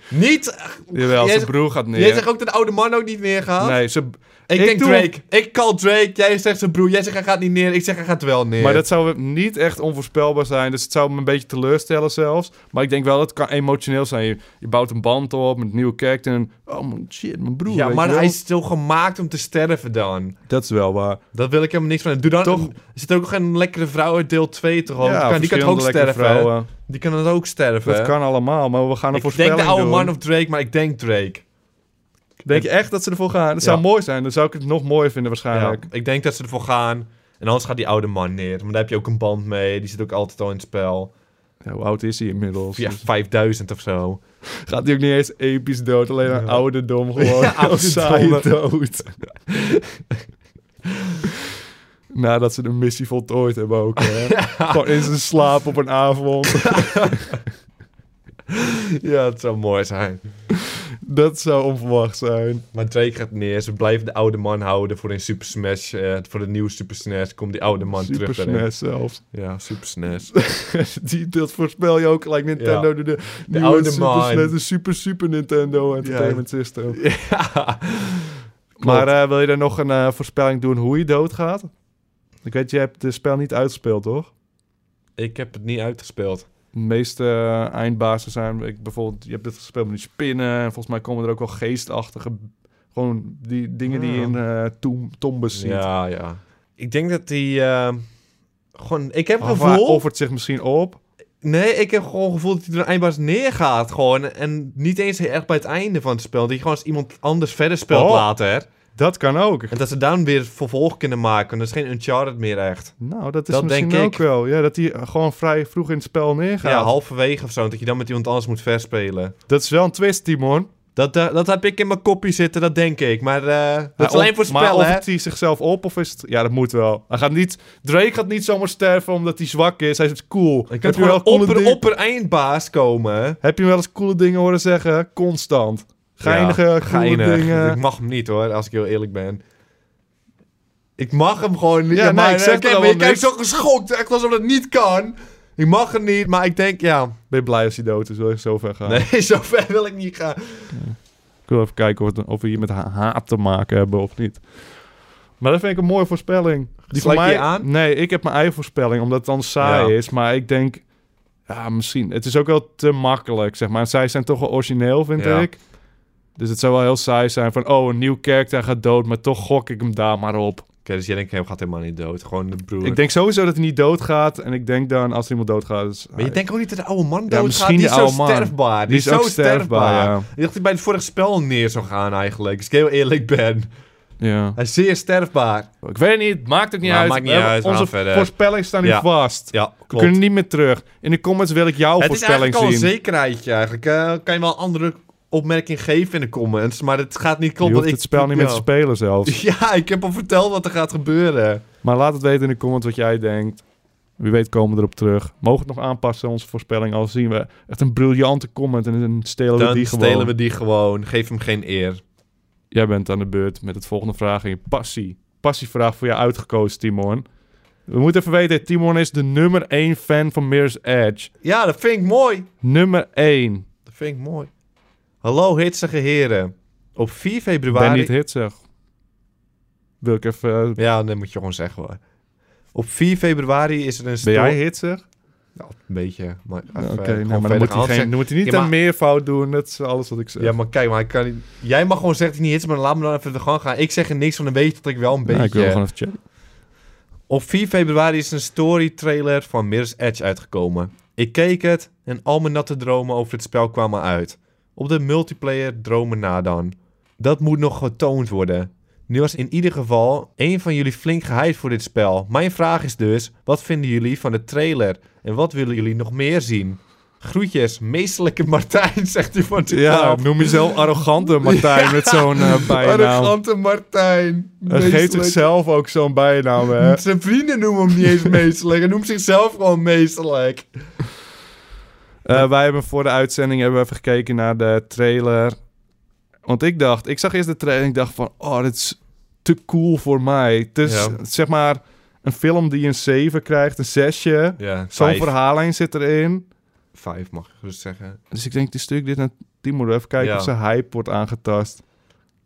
Speaker 3: Niet...
Speaker 2: Jawel,
Speaker 3: Jij
Speaker 2: zijn
Speaker 3: zegt-
Speaker 2: broer gaat
Speaker 3: Jij zegt
Speaker 2: neer.
Speaker 3: ook dat de oude man ook niet neergaat?
Speaker 2: Nee, ze...
Speaker 3: Ik,
Speaker 2: Ik
Speaker 3: denk
Speaker 2: doe-
Speaker 3: Drake. Ik call Drake. Jij zegt zijn broer. Jij zegt hij gaat niet neer. Ik zeg hij gaat wel neer.
Speaker 2: Maar dat zou niet echt onvoorspelbaar zijn. Dus het zou me een beetje teleurstellen zelfs. Maar ik denk wel dat het kan emotioneel zijn. Je, je bouwt een band op met een nieuwe character. En, oh man, shit, mijn broer.
Speaker 3: ja,
Speaker 2: weet
Speaker 3: maar
Speaker 2: je wel.
Speaker 3: hij is toch gemaakt om te sterven dan.
Speaker 2: Dat is wel waar.
Speaker 3: Dat wil ik helemaal niks van. hem. Doe dan
Speaker 2: Toch-
Speaker 3: Er zit ook nog een lekkere vrouw uit deel 2 toch al. die kan, die kan
Speaker 2: verschillende
Speaker 3: toch ook
Speaker 2: lekkere
Speaker 3: sterven.
Speaker 2: vrouwen.
Speaker 3: Die kan het ook sterven.
Speaker 2: Dat kan allemaal, maar we gaan een
Speaker 3: ik
Speaker 2: voorspelling
Speaker 3: denk de oude
Speaker 2: doen.
Speaker 3: man of Drake, maar ik denk Drake.
Speaker 2: Denk je echt dat ze ervoor gaan? Dat zou
Speaker 3: Ja.
Speaker 2: mooi zijn. Dan zou ik het nog mooier vinden
Speaker 3: Ja,
Speaker 2: waarschijnlijk.
Speaker 3: ik denk dat ze ervoor gaan. En anders gaat die oude man neer. Maar daar heb je ook een band mee. Die zit ook altijd al in het spel.
Speaker 2: Ja, hoe oud is hij inmiddels?
Speaker 3: Ja,
Speaker 2: Dus
Speaker 3: 5000 of zo.
Speaker 2: Gaat hij ook niet eens episch dood? Alleen aan
Speaker 3: Ja.
Speaker 2: ouderdom [LAUGHS] gewoon.
Speaker 3: Ja,
Speaker 2: Heel saai
Speaker 3: ouderdom.
Speaker 2: dood. Nadat ze de missie voltooid hebben ook. [LAUGHS] Hè? Gewoon in zijn slaap op een avond.
Speaker 3: [LAUGHS] ja, het zou mooi zijn.
Speaker 2: Dat zou onverwacht zijn.
Speaker 3: Maar Drake gaat neer. Ze blijven de oude man houden voor een Super Smash. eh, voor de nieuwe Super Smash komt die oude man
Speaker 2: Super
Speaker 3: terug. daarin.
Speaker 2: SNES zelfs.
Speaker 3: Ja, Super [LAUGHS] Smash.
Speaker 2: Die, dat voorspel je ook gelijk Nintendo.
Speaker 3: Ja.
Speaker 2: De, de, nieuwe
Speaker 3: oude
Speaker 2: Super
Speaker 3: man.
Speaker 2: SNES, de super super Nintendo Entertainment System.
Speaker 3: ja.
Speaker 2: Maar eh, wil je er nog een eh, voorspelling doen hoe je doodgaat? Ik weet, je hebt het spel niet uitgespeeld, toch?
Speaker 3: Ik heb het niet uitgespeeld.
Speaker 2: De meeste eh, eindbazen zijn, ik, bijvoorbeeld, je hebt dit gespeeld met die spinnen. En volgens mij komen er ook wel geestachtige, gewoon die dingen die je in eh tom- tombes ziet.
Speaker 3: Ja, ja. Ik denk dat die... eh, gewoon, ik heb het
Speaker 2: Of hij
Speaker 3: gevoel...
Speaker 2: offert zich misschien op.
Speaker 3: Nee, ik heb gewoon het gevoel dat hij er een eindbaas neergaat. Gewoon. En niet eens echt bij het einde van het spel. Dat hij gewoon als iemand anders verder speelt
Speaker 2: Oh.
Speaker 3: later.
Speaker 2: Dat kan ook.
Speaker 3: En dat ze dan weer vervolg kunnen maken. Dat is geen Uncharted meer echt.
Speaker 2: Nou, dat is
Speaker 3: Dat
Speaker 2: misschien
Speaker 3: denk
Speaker 2: ook
Speaker 3: ik.
Speaker 2: wel. Ja, dat hij eh, gewoon vrij vroeg in het spel neergaat.
Speaker 3: Ja, halverwege of zo. Dat je dan met iemand anders moet verspelen.
Speaker 2: Dat is wel een twist, Timon.
Speaker 3: Dat, eh, dat heb ik in mijn kopje zitten, dat denk ik. Maar eh, dat is
Speaker 2: Maar
Speaker 3: alleen
Speaker 2: of-
Speaker 3: voorspellen,
Speaker 2: Maar
Speaker 3: hè?
Speaker 2: offert hij zichzelf op of is het... Ja, dat moet wel. Hij gaat niet... Drake gaat niet zomaar sterven omdat hij zwak is. Hij is cool.
Speaker 3: Ik
Speaker 2: heb
Speaker 3: heb
Speaker 2: je, wel
Speaker 3: gewoon
Speaker 2: coole
Speaker 3: opper,
Speaker 2: dingen-
Speaker 3: opper eindbaas komen.
Speaker 2: heb je hem wel eens coole dingen horen zeggen? Constant. Geinige,
Speaker 3: Ja,
Speaker 2: coole
Speaker 3: geinig.
Speaker 2: dingen.
Speaker 3: Ik mag hem niet hoor, als ik heel eerlijk ben. Ik mag hem gewoon niet.
Speaker 2: Ja, nee, ik zeg
Speaker 3: oké,
Speaker 2: er
Speaker 3: maar
Speaker 2: allemaal
Speaker 3: je kijkt
Speaker 2: niks.
Speaker 3: zo geschokt, echt alsof dat niet kan. Ik mag hem niet, maar ik denk, ja...
Speaker 2: Ben je blij als hij dood is? Wil je zo ver gaan?
Speaker 3: [LAUGHS] Nee, zo ver wil ik niet gaan.
Speaker 2: Ik wil even kijken of, het- of we hier met ha- haat te maken hebben of niet. Maar dat vind ik een mooie voorspelling.
Speaker 3: Sluit
Speaker 2: van
Speaker 3: je
Speaker 2: mij,
Speaker 3: je aan?
Speaker 2: Nee, ik heb mijn eigen voorspelling, omdat het dan saai
Speaker 3: Ja.
Speaker 2: is. Maar ik denk, ja, misschien. Het is ook wel te makkelijk, zeg maar. Zij zijn toch wel origineel, vind
Speaker 3: Ja.
Speaker 2: ik. Dus het zou wel heel saai zijn van, oh, een nieuw character gaat dood, maar toch gok ik hem daar maar op.
Speaker 3: Oké, dus jij denkt, hij gaat helemaal niet dood. Gewoon de broer.
Speaker 2: Ik denk sowieso dat hij niet doodgaat. En ik denk dan, als iemand doodgaat, is
Speaker 3: maar je denkt ook niet dat Ah, de oude man
Speaker 2: Ja,
Speaker 3: doodgaat.
Speaker 2: misschien
Speaker 3: die
Speaker 2: de
Speaker 3: is zo
Speaker 2: oude man.
Speaker 3: sterfbaar. Die,
Speaker 2: Die is
Speaker 3: is zo
Speaker 2: ook sterfbaar,
Speaker 3: sterfbaar.
Speaker 2: ja.
Speaker 3: Ik dacht dat hij bij het vorige spel neer zou gaan eigenlijk. Als ik heel eerlijk ben.
Speaker 2: Ja.
Speaker 3: Hij is zeer sterfbaar.
Speaker 2: Ik weet het niet, maakt ook niet
Speaker 3: Maar
Speaker 2: uit.
Speaker 3: maakt niet
Speaker 2: We hebben-
Speaker 3: uit, we gaan
Speaker 2: Onze
Speaker 3: verder.
Speaker 2: voorspellingen staan nu
Speaker 3: Ja.
Speaker 2: vast.
Speaker 3: Ja,
Speaker 2: We kunnen niet meer terug. In de comments wil ik jouw
Speaker 3: Het is
Speaker 2: voorspelling
Speaker 3: eigenlijk al een
Speaker 2: zien.
Speaker 3: zekerheidje eigenlijk. eh. kan je wel een andere opmerking geven in de comments, maar het gaat niet
Speaker 2: je
Speaker 3: kloppen.
Speaker 2: hoeft
Speaker 3: want
Speaker 2: het spel niet meer te
Speaker 3: Ja.
Speaker 2: spelen zelfs.
Speaker 3: [LAUGHS]
Speaker 2: [LAUGHS]
Speaker 3: Ja, ik heb al verteld wat er gaat gebeuren.
Speaker 2: Maar laat het weten in de comments wat jij denkt. Wie weet komen we erop terug. Mogen we het nog aanpassen, onze voorspelling. Al zien we echt een briljante comment en dan stelen we
Speaker 3: Dan
Speaker 2: die gewoon.
Speaker 3: stelen we die gewoon. Geef hem geen eer.
Speaker 2: Jij bent aan de beurt met het volgende vraag in je passie. Passievraag voor jou uitgekozen, Timon. We moeten even weten, Timon is de nummer 1 fan van Mirror's Edge.
Speaker 3: Ja, dat vind ik mooi.
Speaker 2: Nummer 1.
Speaker 3: Dat vind ik mooi. Hallo hitsige heren. Op 4 februari...
Speaker 2: Ben niet hit, zeg. Wil ik even... eh,
Speaker 3: Ja, dat moet je gewoon zeggen hoor. Op 4 februari is er een
Speaker 2: Ben
Speaker 3: store...
Speaker 2: jij hit, zeg?
Speaker 3: Nou, een beetje. Maar even,
Speaker 2: Oké,
Speaker 3: gewoon
Speaker 2: nou, maar dan
Speaker 3: verder
Speaker 2: moet, hij
Speaker 3: gaan.
Speaker 2: geen, dan moet hij niet
Speaker 3: Ja,
Speaker 2: een
Speaker 3: maar-
Speaker 2: meervoud doen. Dat is alles wat ik zeg.
Speaker 3: Ja, maar kijk, maar ik kan niet... jij mag gewoon zeggen dat hij niet hits, maar laat me dan even de gang gaan. Ik zeg er niks van, dan weet je dat ik wel een beetje...
Speaker 2: Ja, ik wil gewoon even checken.
Speaker 3: Op 4 februari is een story trailer van Mirror's Edge uitgekomen. Ik keek het en al mijn natte dromen over het spel kwamen uit. Op de multiplayer dromen na dan. Dat moet nog getoond worden. Nu was in ieder geval één van jullie flink gehyped voor dit spel. Mijn vraag is dus, wat vinden jullie van de trailer? En wat willen jullie nog meer zien? Groetjes, meestelijke Martijn, [LAUGHS] zegt hij van
Speaker 2: Ja,
Speaker 3: Twitter.
Speaker 2: noem jezelf [LAUGHS] arrogante Martijn met zo'n eh, bijnaam.
Speaker 3: Arrogante Martijn.
Speaker 2: Hij geeft
Speaker 3: meestelijk.
Speaker 2: zichzelf ook zo'n bijnaam, hè.
Speaker 3: Zijn vrienden noemen hem niet [LAUGHS] eens meestelijk. Hij noemt zichzelf gewoon meestelijk.
Speaker 2: [LAUGHS] Eh, wij hebben voor de uitzending hebben we even gekeken naar de trailer. Want ik dacht, ik zag eerst de trailer en ik dacht van... Oh, dit is te cool voor mij. Dus
Speaker 3: Ja.
Speaker 2: zeg maar, een film die een 7 krijgt, een 6.
Speaker 3: Ja,
Speaker 2: Zo'n
Speaker 3: vijf.
Speaker 2: verhaallijn zit erin.
Speaker 3: Vijf mag ik gerust zeggen.
Speaker 2: Dus ik denk, die stuk dit naar Timo even kijken
Speaker 3: Ja.
Speaker 2: of zijn hype wordt aangetast.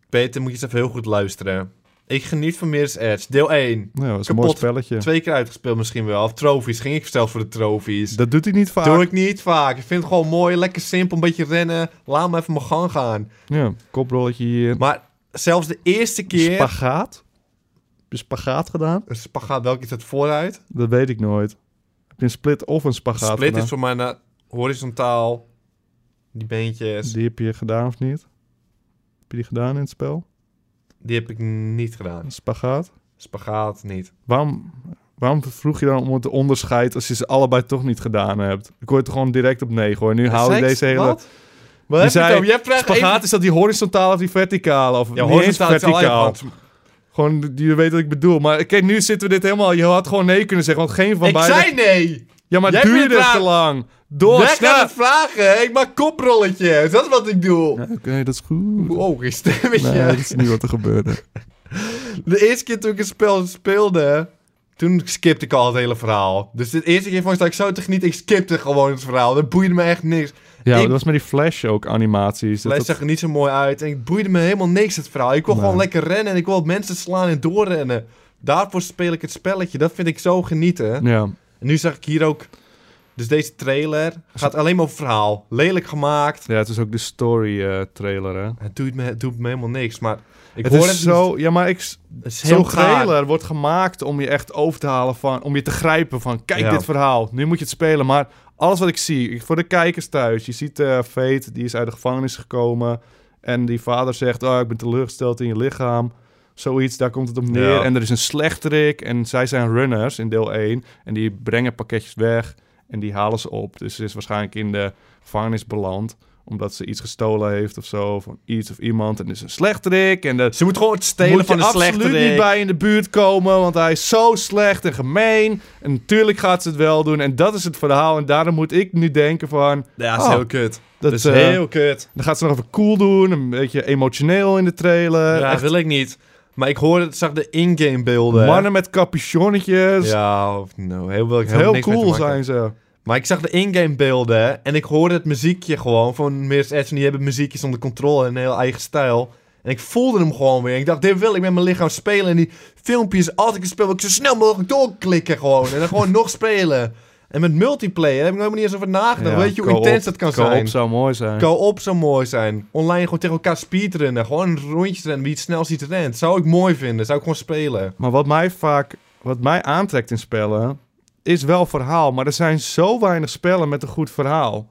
Speaker 3: Peter, moet je eens even heel goed luisteren. Ik geniet van Mirror's Edge. Deel 1.
Speaker 2: Nou, dat is een
Speaker 3: Kapot.
Speaker 2: mooi spelletje.
Speaker 3: Twee keer uitgespeeld misschien wel. Of trofies. Ging ik zelfs voor de trofies.
Speaker 2: Dat doet hij niet vaak.
Speaker 3: Doe ik niet vaak. Ik vind het gewoon mooi. Lekker simpel. Een beetje rennen. Laat me even mijn gang gaan.
Speaker 2: Ja, koprolletje hier.
Speaker 3: Maar zelfs de eerste keer...
Speaker 2: Spagaat? Heb je spagaat gedaan?
Speaker 3: Een spagaat, welke is het vooruit?
Speaker 2: Dat weet ik nooit. Heb je een split of een spagaat
Speaker 3: Split
Speaker 2: gedaan?
Speaker 3: is voor mij naar horizontaal. Die beentjes.
Speaker 2: Die heb je gedaan of niet? Heb je die gedaan in het spel?
Speaker 3: Die heb ik niet gedaan.
Speaker 2: Een spagaat?
Speaker 3: Spagaat niet.
Speaker 2: Waarom, waarom vroeg je dan om het onderscheid als je ze allebei toch niet gedaan hebt? Ik hoor het gewoon direct op nee hoor. Nu haal je
Speaker 3: Seks?
Speaker 2: deze hele...
Speaker 3: Wat?
Speaker 2: Je
Speaker 3: Wat heb je
Speaker 2: zei,
Speaker 3: het over? Jij vraagt
Speaker 2: Spagaat
Speaker 3: even-
Speaker 2: is dat die horizontale of die verticale? Of
Speaker 3: Ja,
Speaker 2: niet eens
Speaker 3: horizontaal is
Speaker 2: verticaal.
Speaker 3: al
Speaker 2: Gewoon, je weet wat ik bedoel. Maar kijk, nu zitten we dit helemaal... Je had gewoon nee kunnen zeggen, want geen van
Speaker 3: Ik
Speaker 2: beide...
Speaker 3: zei nee!
Speaker 2: Ja, maar
Speaker 3: Jij
Speaker 2: duurde
Speaker 3: vindt het
Speaker 2: het te
Speaker 3: raar.
Speaker 2: lang. Door,
Speaker 3: Jij gaat het
Speaker 2: snap.
Speaker 3: vragen. Ik maak koprolletjes. Dat is wat ik doe.
Speaker 2: Ja, Oké, dat is goed.
Speaker 3: Wow, geen [LAUGHS] stemmetje.
Speaker 2: Nee, dat is niet wat er [LAUGHS] gebeurde.
Speaker 3: De eerste keer toen ik een spel speelde, toen skipte ik al het hele verhaal. Dus de eerste keer vond ik dat ik zo te genieten. Ik skipte gewoon het verhaal. Dat boeide me echt niks.
Speaker 2: Ja,
Speaker 3: Ik-
Speaker 2: dat was met die Flash ook animaties. Dat,
Speaker 3: Het zag er niet zo mooi uit. En ik boeide me helemaal niks het verhaal. Ik wil
Speaker 2: Nee.
Speaker 3: gewoon lekker rennen en ik wil mensen slaan en doorrennen. Daarvoor speel ik het spelletje. Dat vind ik zo genieten.
Speaker 2: dat- ja.
Speaker 3: En nu zag ik hier ook... Dus deze trailer gaat alleen maar over verhaal. Lelijk gemaakt.
Speaker 2: ja, het is ook de story eh, trailer, hè.
Speaker 3: Het doet me, het doet me helemaal niks. Maar ik
Speaker 2: het
Speaker 3: hoor
Speaker 2: is
Speaker 3: het
Speaker 2: zo... Ja, maar ik...
Speaker 3: Het is heel
Speaker 2: Zo'n
Speaker 3: gaar.
Speaker 2: trailer wordt gemaakt om je echt over te halen van... Om je te grijpen van, kijk
Speaker 3: Ja.
Speaker 2: dit verhaal. Nu moet je het spelen. Maar alles wat ik zie, ik- voor de kijkers thuis. Je ziet eh Fate, die is uit de gevangenis gekomen. En die vader zegt, oh, ik ben teleurgesteld in je lichaam. Zoiets, daar komt het op neer.
Speaker 3: Ja.
Speaker 2: En er is een slechterik. En zij zijn runners in deel 1. En die brengen pakketjes weg. En die halen ze op. Dus ze is waarschijnlijk in de gevangenis beland. Omdat ze iets gestolen heeft of zo. Van iets of iemand. En er is een slechterik. En de
Speaker 3: Ze moet gewoon het stelen
Speaker 2: moet
Speaker 3: van
Speaker 2: je
Speaker 3: een slechte
Speaker 2: absoluut niet bij in de buurt komen, want hij is zo slecht en gemeen. En natuurlijk gaat ze het wel doen. En dat is het verhaal. En daarom moet ik nu denken van...
Speaker 3: Ja, dat is
Speaker 2: Oh.
Speaker 3: heel kut.
Speaker 2: Dat,
Speaker 3: Dat is
Speaker 2: eh,
Speaker 3: heel kut.
Speaker 2: Dan gaat ze nog even cool doen, een beetje emotioneel in de trailer.
Speaker 3: ja,
Speaker 2: Echt
Speaker 3: wil ik niet. Maar ik hoorde, zag de in-game beelden.
Speaker 2: mannen met capuchonnetjes.
Speaker 3: Ja, of- nou, heel, heel,
Speaker 2: Heel
Speaker 3: niks mee te
Speaker 2: cool zijn
Speaker 3: maken.
Speaker 2: ze.
Speaker 3: Maar ik zag de in-game beelden en ik hoorde het muziekje gewoon van Mirror's Edge. En die hebben muziekjes onder controle en een heel eigen stijl. En ik voelde hem gewoon weer. Ik dacht, dit wil ik met mijn lichaam spelen. En die filmpjes, als ik het speel, wil ik zo snel mogelijk doorklikken gewoon. En dan gewoon [LAUGHS] nog spelen. En met multiplayer heb ik nog helemaal niet eens over nagedacht. Weet je hoe
Speaker 2: co-op-
Speaker 3: intens dat kan
Speaker 2: co-op
Speaker 3: zijn?
Speaker 2: zou mooi zijn.
Speaker 3: Co-op zou mooi zijn. Online gewoon tegen elkaar speedrunnen. Gewoon rondjes rennen. Wie het snelst iets rent. Zou ik mooi vinden. Zou ik gewoon spelen.
Speaker 2: Maar wat mij vaak wat mij aantrekt in spellen, is wel verhaal. Maar er zijn zo weinig spellen met een goed verhaal.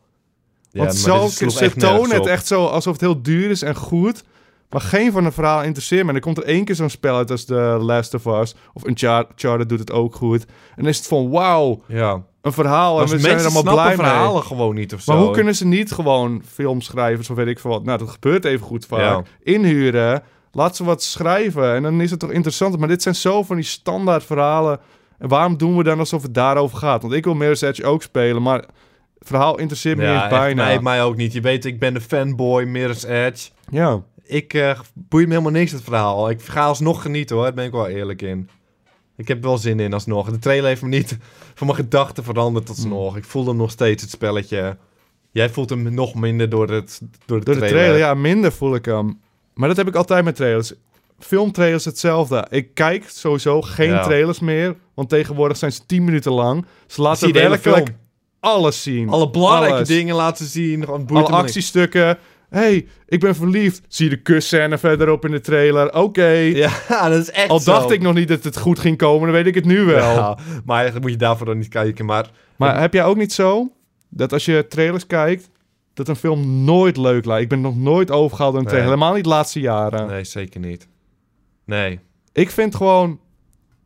Speaker 2: Want zo, ze tonen het echt zo alsof het heel duur is en goed. Maar geen van de verhaal interesseert me. En er komt er één keer zo'n spel uit als The Last of Us. Of Uncharted doet het ook goed. En dan is het van wauw,
Speaker 3: Ja.
Speaker 2: een verhaal. En
Speaker 3: Want
Speaker 2: we
Speaker 3: mensen
Speaker 2: zijn er allemaal blij
Speaker 3: verhalen
Speaker 2: mee.
Speaker 3: gewoon niet of zo.
Speaker 2: Maar hoe kunnen ze niet gewoon filmschrijvers of weet ik veel wat... Nou, dat gebeurt even goed vaak.
Speaker 3: Ja.
Speaker 2: Inhuren, laat ze wat schrijven. En dan is het toch interessant. Maar dit zijn zo van die standaard verhalen. En waarom doen we dan alsof het daarover gaat? Want ik wil Mirror's Edge ook spelen, maar... Het verhaal interesseert me niet
Speaker 3: ja,
Speaker 2: eens
Speaker 3: echt,
Speaker 2: bijna.
Speaker 3: Nee, mij ook niet. Je weet, ik ben de fanboy, Mirror's Edge.
Speaker 2: Ja.
Speaker 3: Ik eh boei me helemaal niks het verhaal. Ik ga alsnog genieten hoor, daar ben ik wel eerlijk in. Ik heb er wel zin in alsnog. De trailer heeft me niet [LAUGHS] van mijn gedachten veranderd
Speaker 2: Hmm.
Speaker 3: alsnog. Ik voel hem nog steeds, het spelletje. Jij voelt hem nog minder door, het, door de
Speaker 2: Door de
Speaker 3: trailer.
Speaker 2: trailer, ja, minder voel ik hem. Maar dat heb ik altijd met trailers. Filmtrailers hetzelfde. Ik kijk sowieso geen
Speaker 3: Ja.
Speaker 2: trailers meer, want tegenwoordig zijn ze 10 minuten lang. Ze
Speaker 3: Zie
Speaker 2: laten
Speaker 3: je de hele
Speaker 2: werkelijk
Speaker 3: film.
Speaker 2: alles zien.
Speaker 3: Alle belangrijke
Speaker 2: Alles.
Speaker 3: dingen laten zien. Gewoon boeit
Speaker 2: Alle
Speaker 3: helemaal niks.
Speaker 2: actiestukken. hey, ik ben verliefd. Zie je de kusscène verderop in de trailer. Oké.
Speaker 3: [LAUGHS] Ja, dat is echt
Speaker 2: Al
Speaker 3: zo.
Speaker 2: dacht ik nog niet dat het goed ging komen, dan weet ik het nu wel.
Speaker 3: Ja, maar eigenlijk moet je daarvoor dan niet kijken. Maar
Speaker 2: Maar heb jij ook niet zo dat als je trailers kijkt, dat een film nooit leuk lijkt? Ik ben nog nooit overgehaald door een
Speaker 3: Nee.
Speaker 2: trailer. Helemaal niet de laatste jaren.
Speaker 3: nee, zeker niet. Nee.
Speaker 2: Ik vind gewoon...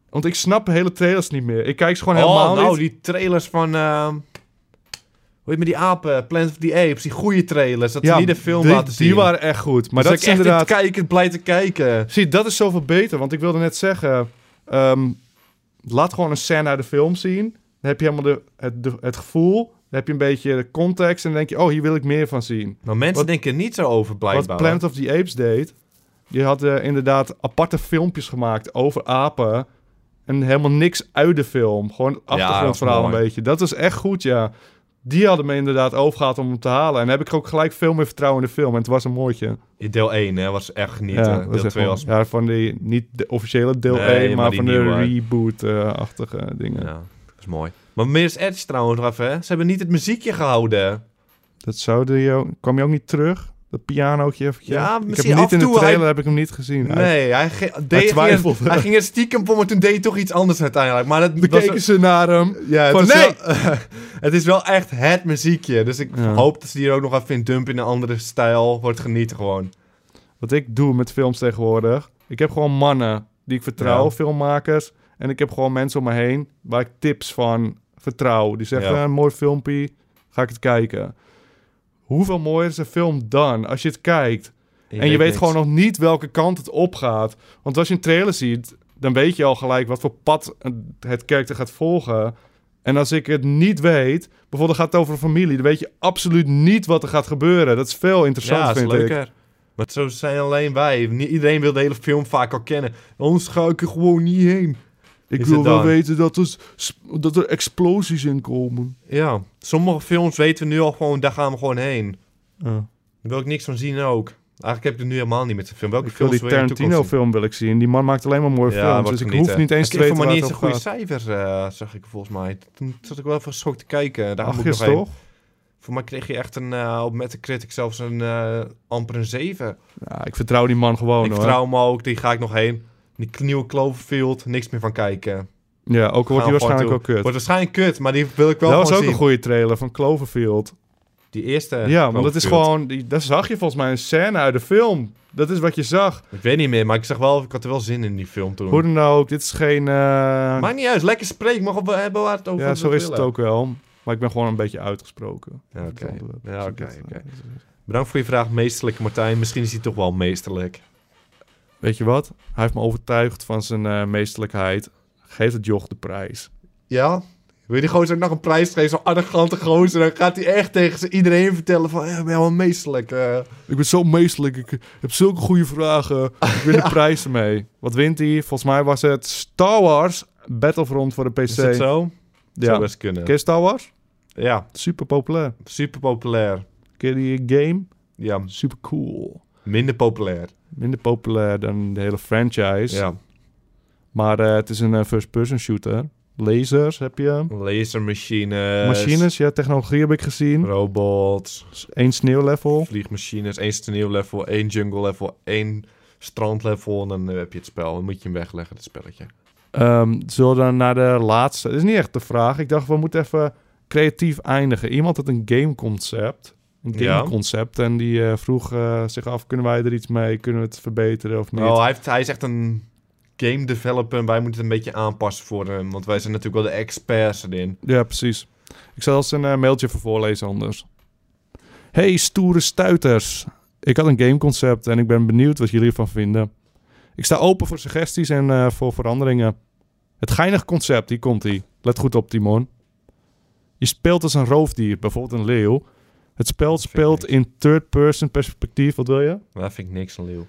Speaker 2: Want ik snap hele trailers niet meer. Ik kijk ze gewoon
Speaker 3: oh,
Speaker 2: helemaal
Speaker 3: nou,
Speaker 2: niet.
Speaker 3: die trailers van... ehm, hoe heet met die apen? Planet of the Apes. Die goede trailers. Dat ze niet de film
Speaker 2: die,
Speaker 3: laten zien.
Speaker 2: Die waren echt goed. Maar
Speaker 3: maar
Speaker 2: dat
Speaker 3: dat
Speaker 2: is
Speaker 3: ik echt
Speaker 2: inderdaad...
Speaker 3: niet kijkend blij te kijken.
Speaker 2: Zie, dat is zoveel beter. Want ik wilde net zeggen... ehm, laat gewoon een scène uit de film zien. Dan heb je helemaal de, het, de- het gevoel. Dan heb je een beetje de context. En dan denk je, oh, hier wil ik meer van zien.
Speaker 3: Maar mensen
Speaker 2: Wat-
Speaker 3: denken er niet zo over,
Speaker 2: Wat
Speaker 3: blijkbaar.
Speaker 2: Planet of the Apes deed... Die had eh, inderdaad aparte filmpjes gemaakt over apen. En helemaal niks uit de film. Gewoon achtergrondverhaal
Speaker 3: mooi.
Speaker 2: een beetje. Dat is echt goed, ja. Die hadden me inderdaad overgehaald om hem te halen. En heb ik ook gelijk veel meer vertrouwen in de film. En het was een mooitje.
Speaker 3: Deel 1 hè, was echt genieten.
Speaker 2: ja, dat is
Speaker 3: eh, deel
Speaker 2: echt
Speaker 3: 2
Speaker 2: wel-
Speaker 3: was...
Speaker 2: ja, van die, niet de officiële deel
Speaker 3: Nee,
Speaker 2: 1,
Speaker 3: maar
Speaker 2: maar,
Speaker 3: die
Speaker 2: van de
Speaker 3: nieuwe.
Speaker 2: reboot-achtige dingen.
Speaker 3: Ja, dat is mooi. Maar Mirror's Edge trouwens nog even, hè. Ze hebben niet het muziekje gehouden.
Speaker 2: Dat zou je ook... Kwam je ook niet terug? Dat pianootje eventjes?
Speaker 3: Ja,
Speaker 2: ik heb
Speaker 3: misschien
Speaker 2: hem
Speaker 3: af
Speaker 2: niet in
Speaker 3: en
Speaker 2: de
Speaker 3: toe,
Speaker 2: trailer,
Speaker 3: hij-
Speaker 2: heb ik hem niet gezien. Hij-
Speaker 3: Nee, hij, ge- deed
Speaker 2: twijfelde.
Speaker 3: Hij ging er stiekem voor, maar toen deed hij toch iets anders uiteindelijk. Maar dat
Speaker 2: Dan
Speaker 3: was-
Speaker 2: keken ze naar hem.
Speaker 3: Ja, het,
Speaker 2: Van,
Speaker 3: is
Speaker 2: nee!
Speaker 3: wel, [LAUGHS] het is wel echt het muziekje. Dus ik
Speaker 2: Ja.
Speaker 3: hoop dat ze hier ook nog even in dump in een andere stijl. Wordt genieten gewoon.
Speaker 2: Wat ik doe met films tegenwoordig. Ik heb gewoon mannen die ik vertrouw,
Speaker 3: Ja.
Speaker 2: filmmakers. En ik heb gewoon mensen om me heen waar ik tips van vertrouw. Die zeggen,
Speaker 3: Ja.
Speaker 2: "Ah, een mooi filmpje, ga ik het kijken. Hoeveel mooier is een film dan als je het kijkt? en je weet
Speaker 3: niks.
Speaker 2: gewoon nog niet welke kant het opgaat. Want als je een trailer ziet, dan weet je al gelijk wat voor pad een- het karakter gaat volgen. En als ik het niet weet, bijvoorbeeld gaat het over een familie, dan weet je absoluut niet wat er gaat gebeuren. Dat is veel interessanter,
Speaker 3: ja, is
Speaker 2: vind ik.
Speaker 3: leuker. Maar zo zijn alleen wij. Niet iedereen wil de hele film vaak al kennen. Ons ga ik er gewoon niet heen.
Speaker 2: Ik
Speaker 3: Is
Speaker 2: wil
Speaker 3: het
Speaker 2: wel
Speaker 3: dan?
Speaker 2: weten dat er, sp- dat er explosies in komen.
Speaker 3: Ja, sommige films weten we nu al gewoon, daar gaan we gewoon heen. Daar wil ik niks van zien ook. Eigenlijk heb ik het nu helemaal niet met de film. Welke
Speaker 2: Ik wil
Speaker 3: films
Speaker 2: die
Speaker 3: wil je in de toekomst zien?
Speaker 2: Tarantino-film wil ik zien. Die man maakt alleen maar mooie films. Dus ik hoef niet eens te weten
Speaker 3: maar
Speaker 2: waar
Speaker 3: niet
Speaker 2: het
Speaker 3: eens een
Speaker 2: over
Speaker 3: goede
Speaker 2: gaat.
Speaker 3: cijfers, eh, zag ik volgens mij. Toen zat ik wel even geschokt te kijken. eh, Daar moet ik nog
Speaker 2: Achtjes,
Speaker 3: heen.
Speaker 2: toch?
Speaker 3: Voor mij kreeg je echt een, eh op Metacritic zelfs een eh, amper een 7.
Speaker 2: Ja, ik vertrouw die man gewoon,
Speaker 3: ik
Speaker 2: hoor.
Speaker 3: vertrouw hem ook, die ga ik nog heen. Die k- nieuwe Cloverfield, niks meer van kijken.
Speaker 2: Ja, ook al wordt hij
Speaker 3: Gaan we gewoon
Speaker 2: waarschijnlijk
Speaker 3: toe.
Speaker 2: ook kut.
Speaker 3: Wordt waarschijnlijk kut, maar die wil ik wel
Speaker 2: dat was
Speaker 3: gewoon
Speaker 2: ook
Speaker 3: zien.
Speaker 2: een goede trailer van Cloverfield.
Speaker 3: Die eerste
Speaker 2: ja, want dat is
Speaker 3: Cloverfield.
Speaker 2: gewoon... Die, daar zag je volgens mij een scène uit de film. Dat is wat je zag.
Speaker 3: Ik weet niet meer, maar ik zag wel, ik had er wel zin in die film toen.
Speaker 2: Hoe dan ook, dit is geen... eh,
Speaker 3: Maakt niet uit, lekker spreek, mag op hebben waar het over
Speaker 2: ja, zo
Speaker 3: we
Speaker 2: is het
Speaker 3: willen.
Speaker 2: ook wel. Maar ik ben gewoon een beetje uitgesproken.
Speaker 3: Ja, oké.
Speaker 2: Dat onderwerp.
Speaker 3: Ja,
Speaker 2: Dus
Speaker 3: oké,
Speaker 2: dat, eh,
Speaker 3: oké. Bedankt voor je vraag, meesterlijke Martijn. Misschien is hij toch wel meesterlijk.
Speaker 2: Weet je wat? Hij heeft me overtuigd van zijn eh, meesterlijkheid. Geef het joch de prijs.
Speaker 3: Ja? Wil je die gozer ook nog een prijs geven? Zo'n arrogante gozer. Dan gaat hij echt tegen ze- iedereen vertellen van... Ja, ik ben wel meesterlijk. eh.
Speaker 2: Ik ben zo meesterlijk. Ik heb zulke goede vragen. Ik [LAUGHS] win de prijs ermee. Wat wint hij? Volgens mij was het Star Wars Battlefront voor de PC.
Speaker 3: Is dat zo? Zou
Speaker 2: Ja.
Speaker 3: best kunnen.
Speaker 2: Ken je Star Wars?
Speaker 3: Ja,
Speaker 2: Super populair.
Speaker 3: super populair.
Speaker 2: Ken je die game?
Speaker 3: Ja,
Speaker 2: Super cool.
Speaker 3: minder populair.
Speaker 2: Minder populair dan de hele franchise.
Speaker 3: Ja.
Speaker 2: Maar eh, het is een eh, first-person shooter. Lasers heb je.
Speaker 3: Lasermachines.
Speaker 2: Machines, ja, technologie heb ik gezien.
Speaker 3: Robots.
Speaker 2: Eén sneeuwlevel.
Speaker 3: Vliegmachines. één sneeuwlevel, één jungle level, één strandlevel. En dan eh, heb je het spel. Dan moet je hem wegleggen, het spelletje.
Speaker 2: Ehm zullen we dan naar de laatste? Dat is niet echt de vraag. Ik dacht, we moeten even creatief eindigen. Iemand had een gameconcept. Een
Speaker 3: Ja.
Speaker 2: gameconcept. En die eh, vroeg eh, zich af, kunnen wij er iets mee? Kunnen we het verbeteren of niet?
Speaker 3: Nou, hij, heeft, hij is echt een game developer. En wij moeten het een beetje aanpassen voor hem. Want wij zijn natuurlijk wel de experts erin.
Speaker 2: Ja, precies. Ik zal eens een eh, mailtje voor voorlezen anders. Hey, stoere stuiters. Ik had een gameconcept en ik ben benieuwd wat jullie ervan vinden. Ik sta open voor suggesties en eh, voor veranderingen. Het geinig concept, hier komt ie. Let goed op, Timon. Je speelt als een roofdier, bijvoorbeeld een leeuw. Het spel
Speaker 3: ik
Speaker 2: speelt
Speaker 3: niks.
Speaker 2: in third-person perspectief. Wat wil je?
Speaker 3: Maar dat vind ik niks van leeuw.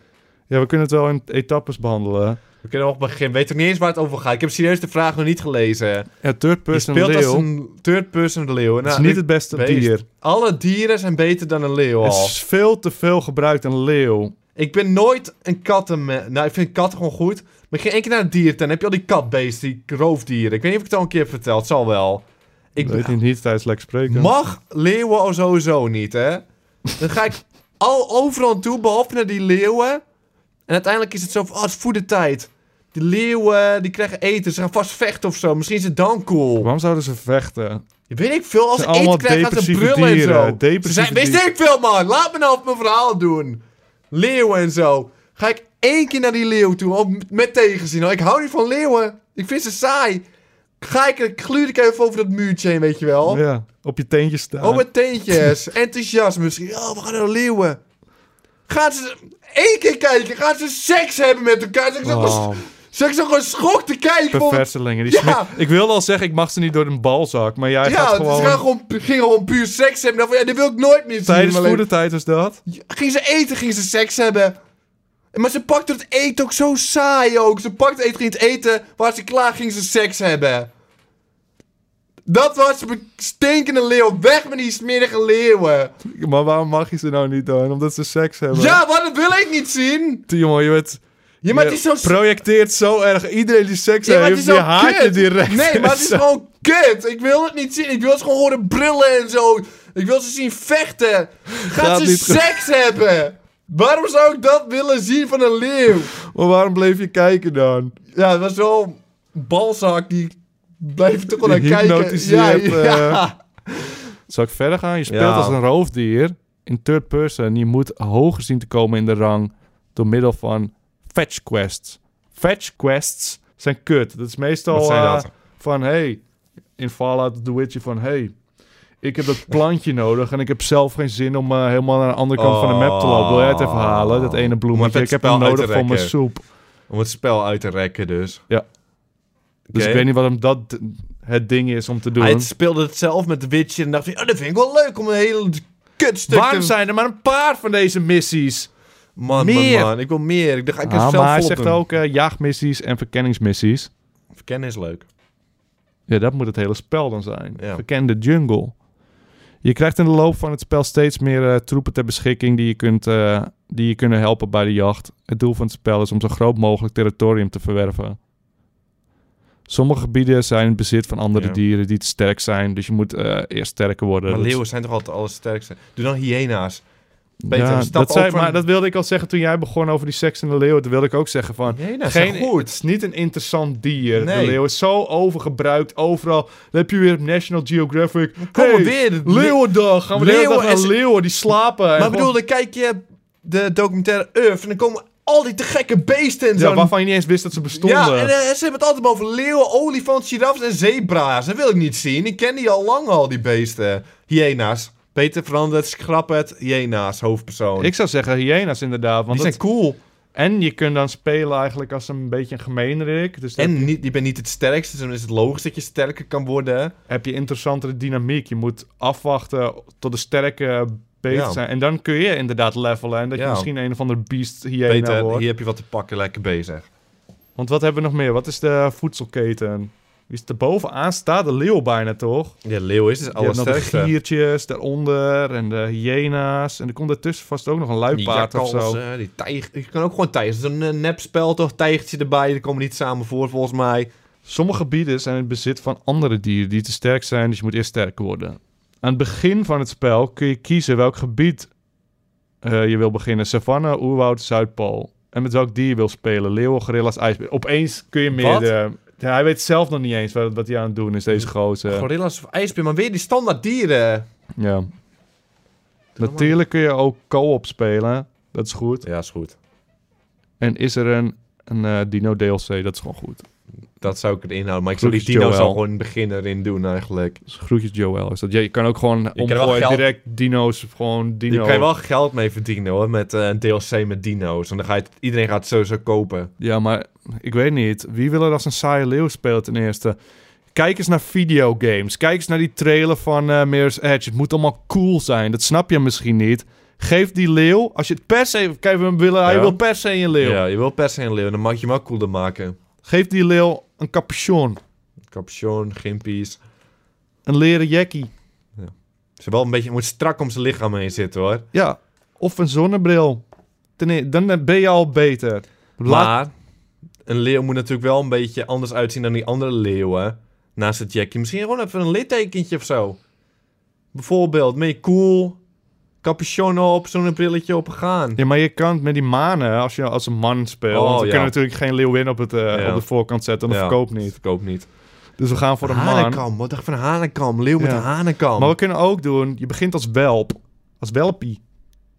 Speaker 2: Ja, we kunnen het wel in etappes behandelen.
Speaker 3: We kunnen nog beginnen. Weet ook niet eens waar het over gaat. Ik heb serieus de vraag nog niet gelezen.
Speaker 2: Ja,
Speaker 3: Je
Speaker 2: third-person
Speaker 3: speelt
Speaker 2: leeuw.
Speaker 3: als een third-person leeuw.
Speaker 2: Het is
Speaker 3: Nou,
Speaker 2: niet
Speaker 3: ik-
Speaker 2: het Oh. beste
Speaker 3: beest.
Speaker 2: dier.
Speaker 3: Alle dieren zijn beter dan een leeuw
Speaker 2: Het
Speaker 3: al.
Speaker 2: is veel te veel gebruikt, een leeuw.
Speaker 3: Ik ben nooit een kattenman. Nou, ik vind katten gewoon goed. Maar ik ging één keer naar het diertuin. Dan heb je al die katbeesten, die roofdieren. Ik weet niet of ik het al een keer heb verteld. Zal wel. Ik
Speaker 2: Ik weet niet, niet tijdens Lex Spreken.
Speaker 3: mag leeuwen al sowieso niet, hè? Dan ga ik al overal aan toe, behalve naar die leeuwen. En uiteindelijk is het zo van, oh, het is voedertijd. Die leeuwen, die krijgen eten. Ze gaan vast vechten of zo. Misschien is het dan cool.
Speaker 2: Waarom zouden ze vechten?
Speaker 3: Weet ik veel. Als
Speaker 2: Het
Speaker 3: ze
Speaker 2: zijn
Speaker 3: eten
Speaker 2: allemaal
Speaker 3: krijgen, gaan ze
Speaker 2: depressieve
Speaker 3: brullen en
Speaker 2: dieren,
Speaker 3: zo. Ze
Speaker 2: depressieve
Speaker 3: zijn, wist
Speaker 2: dieren.
Speaker 3: ik veel, man. Laat me nou op mijn verhaal doen. Leeuwen en zo. Ga ik één keer naar die leeuw toe, om- met tegenzin. al. Ik hou niet van leeuwen. Ik vind ze saai. Ga ik, gluur ik even over dat muurtje heen, weet je wel.
Speaker 2: Ja, op je teentjes staan.
Speaker 3: Oh, met teentjes. Enthousiasme misschien. Oh, we gaan naar de leeuwen. Gaan ze één keer kijken? Gaan ze seks hebben met elkaar? Zeg ik zo [LAUGHS]
Speaker 2: Oh,
Speaker 3: gewoon- zeg ik zo gewoon schok te kijken? voor-
Speaker 2: perverselingen. Die
Speaker 3: Ja.
Speaker 2: smet- Ik wilde al zeggen, ik mag ze niet door een balzak. Maar jij
Speaker 3: Ja,
Speaker 2: gaat
Speaker 3: ze
Speaker 2: gewoon...
Speaker 3: gaan gewoon, gingen gewoon puur seks hebben. Nou, Dan van, ja, dat wil ik nooit meer zien. in
Speaker 2: Tijdens
Speaker 3: mijn leven.
Speaker 2: voedertijd is dat.
Speaker 3: Gingen ze eten? Gingen ze seks hebben? Maar ze pakte het eten ook zo saai ook. Ze pakte het eten, ging het eten. Waar ze klaar ging, ze seks hebben. Dat was een stinkende leeuw. Weg met die smerige leeuwen.
Speaker 2: Maar waarom mag je ze nou niet dan? Omdat ze seks hebben.
Speaker 3: Ja, maar dat wil ik niet zien.
Speaker 2: Jongen, je bent...
Speaker 3: Ja, maar
Speaker 2: je
Speaker 3: het is zo...
Speaker 2: projecteert zo erg. Iedereen die seks
Speaker 3: Ja, maar het
Speaker 2: heeft,
Speaker 3: is
Speaker 2: die
Speaker 3: ook
Speaker 2: haat je
Speaker 3: kut.
Speaker 2: direct.
Speaker 3: Nee, maar het
Speaker 2: [LAUGHS]
Speaker 3: is gewoon kut. Ik wil het niet zien. Ik wil ze gewoon horen brullen en zo. Ik wil ze zien vechten.
Speaker 2: Gaat
Speaker 3: Gaat ze
Speaker 2: niet goed.
Speaker 3: seks hebben? Waarom zou ik dat willen zien van een leeuw?
Speaker 2: Maar waarom bleef je kijken dan?
Speaker 3: Ja, het was zo'n balzak die blijft toch wel naar
Speaker 2: Die
Speaker 3: kijken. Ja,
Speaker 2: hypnotiseert, eh.
Speaker 3: ja.
Speaker 2: Zal ik verder gaan? Je speelt
Speaker 3: Ja.
Speaker 2: als een roofdier in third person. Je moet hoger zien te komen in de rang door middel van fetch quests. Fetch quests zijn kut. Dat is meestal
Speaker 3: Wat zijn
Speaker 2: eh,
Speaker 3: dat?
Speaker 2: van hey, in Fallout The Witcher van hey, ik heb dat plantje nodig en ik heb zelf geen zin om eh, helemaal naar de andere kant van de map te lopen. Wil jij het even halen? Dat ene
Speaker 3: Oh. Om
Speaker 2: bloemetje.
Speaker 3: het
Speaker 2: Ik heb
Speaker 3: spel
Speaker 2: hem
Speaker 3: uit te
Speaker 2: nodig voor mijn
Speaker 3: rekken.
Speaker 2: soep.
Speaker 3: Om het spel uit te rekken dus.
Speaker 2: Dus
Speaker 3: Oké.
Speaker 2: ik weet niet wat hem dat het ding is om te doen.
Speaker 3: Hij speelde het zelf met de Witcher en dacht hij... Oh, dat vind ik wel leuk om een hele kutstuk
Speaker 2: Waarom
Speaker 3: te...
Speaker 2: zijn er maar een paar van deze missies?
Speaker 3: Man,
Speaker 2: Meer.
Speaker 3: man, man. Ik wil meer. Ik dacht, ga ik
Speaker 2: Ah,
Speaker 3: het zelf
Speaker 2: maar hij
Speaker 3: volop
Speaker 2: zegt
Speaker 3: doen.
Speaker 2: ook eh, jaagmissies en verkenningsmissies.
Speaker 3: Verkennen is leuk.
Speaker 2: Ja, dat moet het hele spel dan zijn.
Speaker 3: Ja.
Speaker 2: Verken de jungle. Je krijgt in de loop van het spel steeds meer eh, troepen ter beschikking die je, kunt, eh, die je kunnen helpen bij de jacht. Het doel van het spel is om zo groot mogelijk territorium te verwerven. Sommige gebieden zijn in bezit van andere
Speaker 3: Ja.
Speaker 2: dieren die te sterk zijn, dus je moet eh, eerst sterker worden.
Speaker 3: Maar
Speaker 2: Dat is-
Speaker 3: leeuwen zijn toch altijd het allersterkste. Doe dan hyena's. Peter,
Speaker 2: Ja,
Speaker 3: stap
Speaker 2: dat, zei,
Speaker 3: over-
Speaker 2: maar dat wilde ik al zeggen toen jij begon over die seks en de leeuwen. Toen wilde ik ook zeggen van...
Speaker 3: Hyena's
Speaker 2: Geen,
Speaker 3: zijn
Speaker 2: het
Speaker 3: nou, goed.
Speaker 2: is niet een interessant dier.
Speaker 3: Nee.
Speaker 2: De leeuw is zo overgebruikt, overal. Dan heb je weer op National Geographic.
Speaker 3: Kom
Speaker 2: hey,
Speaker 3: maar weer. de
Speaker 2: Leeuwendag. Gaan we leeuwen de hele dag
Speaker 3: Leeuwen en
Speaker 2: naar
Speaker 3: ze-
Speaker 2: leeuwen die slapen.
Speaker 3: Maar ik bedoel, dan kijk je de documentaire Earth en dan komen al die te gekke beesten en zo.
Speaker 2: ja, waarvan je niet eens wist dat ze bestonden.
Speaker 3: Ja, en eh, ze hebben het altijd maar over leeuwen, olifanten, giraffes en zebra's. Dat wil ik niet zien. Ik ken die al lang al, die beesten. Hyena's. Peter verandert, schrap het. Hyena's, hoofdpersoon.
Speaker 2: Ik zou zeggen hyena's inderdaad.
Speaker 3: die
Speaker 2: Want
Speaker 3: zijn
Speaker 2: dat-
Speaker 3: cool.
Speaker 2: En je kunt dan spelen eigenlijk als een beetje een gemeenrik. Dus dan
Speaker 3: En niet, je bent niet het sterkste, dus dan is het logisch dat je sterker kan worden.
Speaker 2: heb je interessantere dynamiek. Je moet afwachten tot de sterke beter
Speaker 3: Ja.
Speaker 2: zijn. En dan kun je inderdaad levelen. En dat je
Speaker 3: Ja.
Speaker 2: misschien een of ander beast hyena
Speaker 3: Peter,
Speaker 2: wordt.
Speaker 3: hier heb je wat te pakken, lekker bezig.
Speaker 2: Want wat hebben we nog meer? Wat is de voedselketen? Die is er bovenaan staat de leeuw bijna, toch?
Speaker 3: Ja, leeuw is dus
Speaker 2: Je hebt nog de
Speaker 3: allersterkste.
Speaker 2: giertjes daaronder en de hyena's. En er komt ertussen vast ook nog een luipaard of zo.
Speaker 3: jakhalzen, eh, die tijg... Je kan ook gewoon tijgers. Dat is een eh, nepspel toch? Tijgertje erbij, die komen niet samen voor volgens mij.
Speaker 2: Sommige gebieden zijn in het bezit van andere dieren die te sterk zijn, dus je moet eerst sterker worden. Aan het begin van het spel kun je kiezen welk gebied eh, je wil beginnen. Savanne, oerwoud, Zuidpool. En met welk dier je wil spelen. Leeuwen, gorilla's, ijsbeer. Opeens kun je meerdere... Ja, hij weet zelf nog niet eens wat, wat hij aan het doen is, deze gozer.
Speaker 3: Gorilla's of ijsbeer, maar weer die standaard dieren.
Speaker 2: Ja. Natuurlijk kun je ook co-op spelen. Dat is goed.
Speaker 3: Ja, is goed.
Speaker 2: En is er een, een eh, Dino DLC? Dat is gewoon goed.
Speaker 3: Dat zou ik erin houden. Maar ik zou die
Speaker 2: Groetjes,
Speaker 3: dino's al
Speaker 2: Joël.
Speaker 3: gewoon in het begin erin doen eigenlijk.
Speaker 2: Dus groetjes Joel. Is dat, ja, je kan ook gewoon
Speaker 3: kan wel
Speaker 2: omgooien
Speaker 3: geld-
Speaker 2: direct dino's. Gewoon
Speaker 3: Je
Speaker 2: dino.
Speaker 3: kan je wel geld mee verdienen hoor, met eh, een DLC met dino's. En dan ga je het, iedereen gaat het sowieso kopen.
Speaker 2: Ja, maar ik weet niet. Wie wil er als een saaie leeuw spelen ten eerste? Kijk eens naar videogames. Kijk eens naar die trailer van eh Mirror's Edge. Het moet allemaal cool zijn. Dat snap je misschien niet. Geef die leeuw, als je het per se... Kijk, we willen, hij
Speaker 3: Ja.
Speaker 2: wil per se een leeuw.
Speaker 3: Ja, je wil per se een leeuw, dan mag je hem ook cooler maken.
Speaker 2: Geef die leeuw een capuchon.
Speaker 3: Capuchon, gimpies.
Speaker 2: Een leren jackie.
Speaker 3: Ze wel een beetje, moet strak om zijn lichaam heen zitten hoor.
Speaker 2: Ja, of een zonnebril. Ten e- dan ben je al beter. Laat-
Speaker 3: Maar een leeuw moet natuurlijk wel een beetje anders uitzien dan die andere leeuwen. Naast het jackie. Misschien gewoon even een littekentje of zo. Bijvoorbeeld, mee cool. Capuchon op, zo'n brilletje op gaan.
Speaker 2: Ja, maar je kan het met die manen, als je als een man speelt...
Speaker 3: Oh,
Speaker 2: want we
Speaker 3: ja.
Speaker 2: kunnen natuurlijk geen leeuwin op, het, eh,
Speaker 3: Ja.
Speaker 2: op de voorkant zetten. Dat
Speaker 3: Ja.
Speaker 2: verkoopt niet.
Speaker 3: Verkoop niet.
Speaker 2: Dus we gaan voor een man.
Speaker 3: Hanenkam, wat dacht ik van hanenkam? Leeuw met
Speaker 2: Ja.
Speaker 3: een hanenkam.
Speaker 2: Maar we kunnen ook doen... Je begint als welp. Als welpie.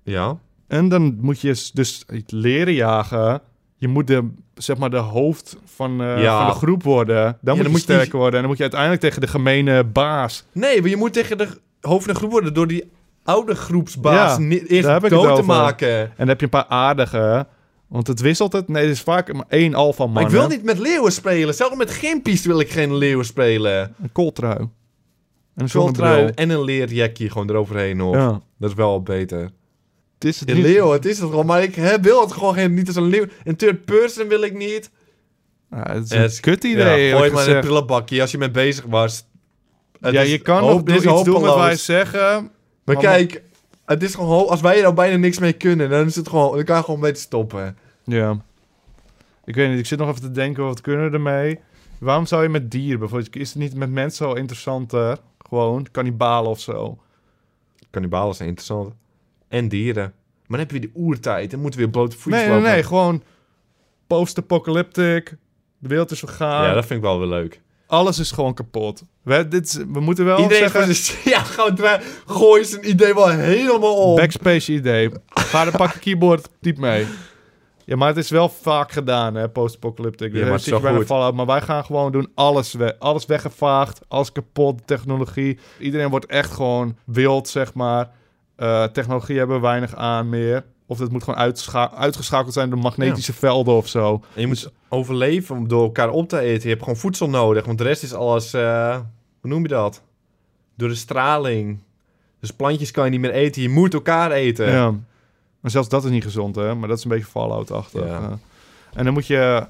Speaker 3: Ja.
Speaker 2: En dan moet je s- dus leren jagen. Je moet de, zeg maar de hoofd van, eh,
Speaker 3: Ja.
Speaker 2: van de groep worden. Dan, moet,
Speaker 3: dan
Speaker 2: je
Speaker 3: moet je die-
Speaker 2: sterker worden. En dan moet je uiteindelijk tegen de gemene baas.
Speaker 3: Nee, maar je moet tegen de hoofd van de groep worden door die oude groepsbaas
Speaker 2: Ja,
Speaker 3: ni- eerst
Speaker 2: daar heb ik het
Speaker 3: dood te
Speaker 2: over.
Speaker 3: maken.
Speaker 2: En dan heb je een paar aardige. Want het wisselt het. Nee, het is vaak maar één alfa man.
Speaker 3: Maar ik wil niet met leeuwen spelen. Zelfs met gimpies wil ik geen leeuwen spelen.
Speaker 2: Een kooltrui. En een
Speaker 3: Zo'n trui
Speaker 2: zonnebril.
Speaker 3: en een leerjackie gewoon eroverheen hoor.
Speaker 2: Ja.
Speaker 3: Dat is wel beter.
Speaker 2: het is het
Speaker 3: De
Speaker 2: niet.
Speaker 3: leeuw, het is het gewoon. Maar ik hè, wil het gewoon geen, niet als een leeuw. Een third person wil ik niet.
Speaker 2: Ah, het is
Speaker 3: Het is-
Speaker 2: een kut idee,
Speaker 3: Ja,
Speaker 2: eerlijk
Speaker 3: gooi het maar in een
Speaker 2: gezegd.
Speaker 3: prullenbakje als je mee bezig was. Het
Speaker 2: Ja,
Speaker 3: is
Speaker 2: je kan
Speaker 3: hoop-
Speaker 2: nog
Speaker 3: dit is
Speaker 2: iets doen wat wij
Speaker 3: hopeloos.
Speaker 2: zeggen.
Speaker 3: Maar
Speaker 2: Maar-
Speaker 3: kijk, het is gewoon, ho- als wij er al bijna niks mee kunnen, dan is het gewoon, dan kan je gewoon beter stoppen.
Speaker 2: Ja. Ik weet niet, ik zit nog even te denken, wat kunnen we ermee? Waarom zou je met dieren bijvoorbeeld... Is het niet met mensen al interessanter? Gewoon, kannibalen of zo.
Speaker 3: Cannibalen zijn interessant. En dieren. Maar dan heb je weer de oertijd, dan moeten we weer blote voetjes
Speaker 2: Nee, nee,
Speaker 3: lopen.
Speaker 2: nee, gewoon post-apocalyptic. De wereld is vergaan.
Speaker 3: Ja, dat vind ik wel weer leuk.
Speaker 2: Alles is gewoon kapot. We, dit, is- we moeten wel
Speaker 3: Iedereen
Speaker 2: zeggen...
Speaker 3: is gewoon- [LAUGHS] ja, gewoon dwa- gooi zijn idee wel helemaal om.
Speaker 2: Backspace idee. Ga dan pak je keyboard, typ mee. Ja, maar het is wel vaak gedaan, hè, post-apocalyptic.
Speaker 3: Ja, maar het is
Speaker 2: zit
Speaker 3: wel
Speaker 2: je bijna
Speaker 3: goed.
Speaker 2: Fallout, maar wij gaan gewoon doen alles, we alles weggevaagd, alles kapot, technologie. Iedereen wordt echt gewoon wild, zeg maar. Eh, technologie hebben we weinig aan meer. Of het moet gewoon uitscha- uitgeschakeld zijn door magnetische velden of zo.
Speaker 3: En je moet overleven om door elkaar op te eten. Je hebt gewoon voedsel nodig, want de rest is alles... eh, hoe noem je dat? Door de straling. Dus plantjes kan je niet meer eten. Je moet elkaar eten.
Speaker 2: Ja. Maar zelfs dat is niet gezond, hè? Maar dat is een beetje Fallout-achtig.
Speaker 3: Ja.
Speaker 2: Ja. En dan moet je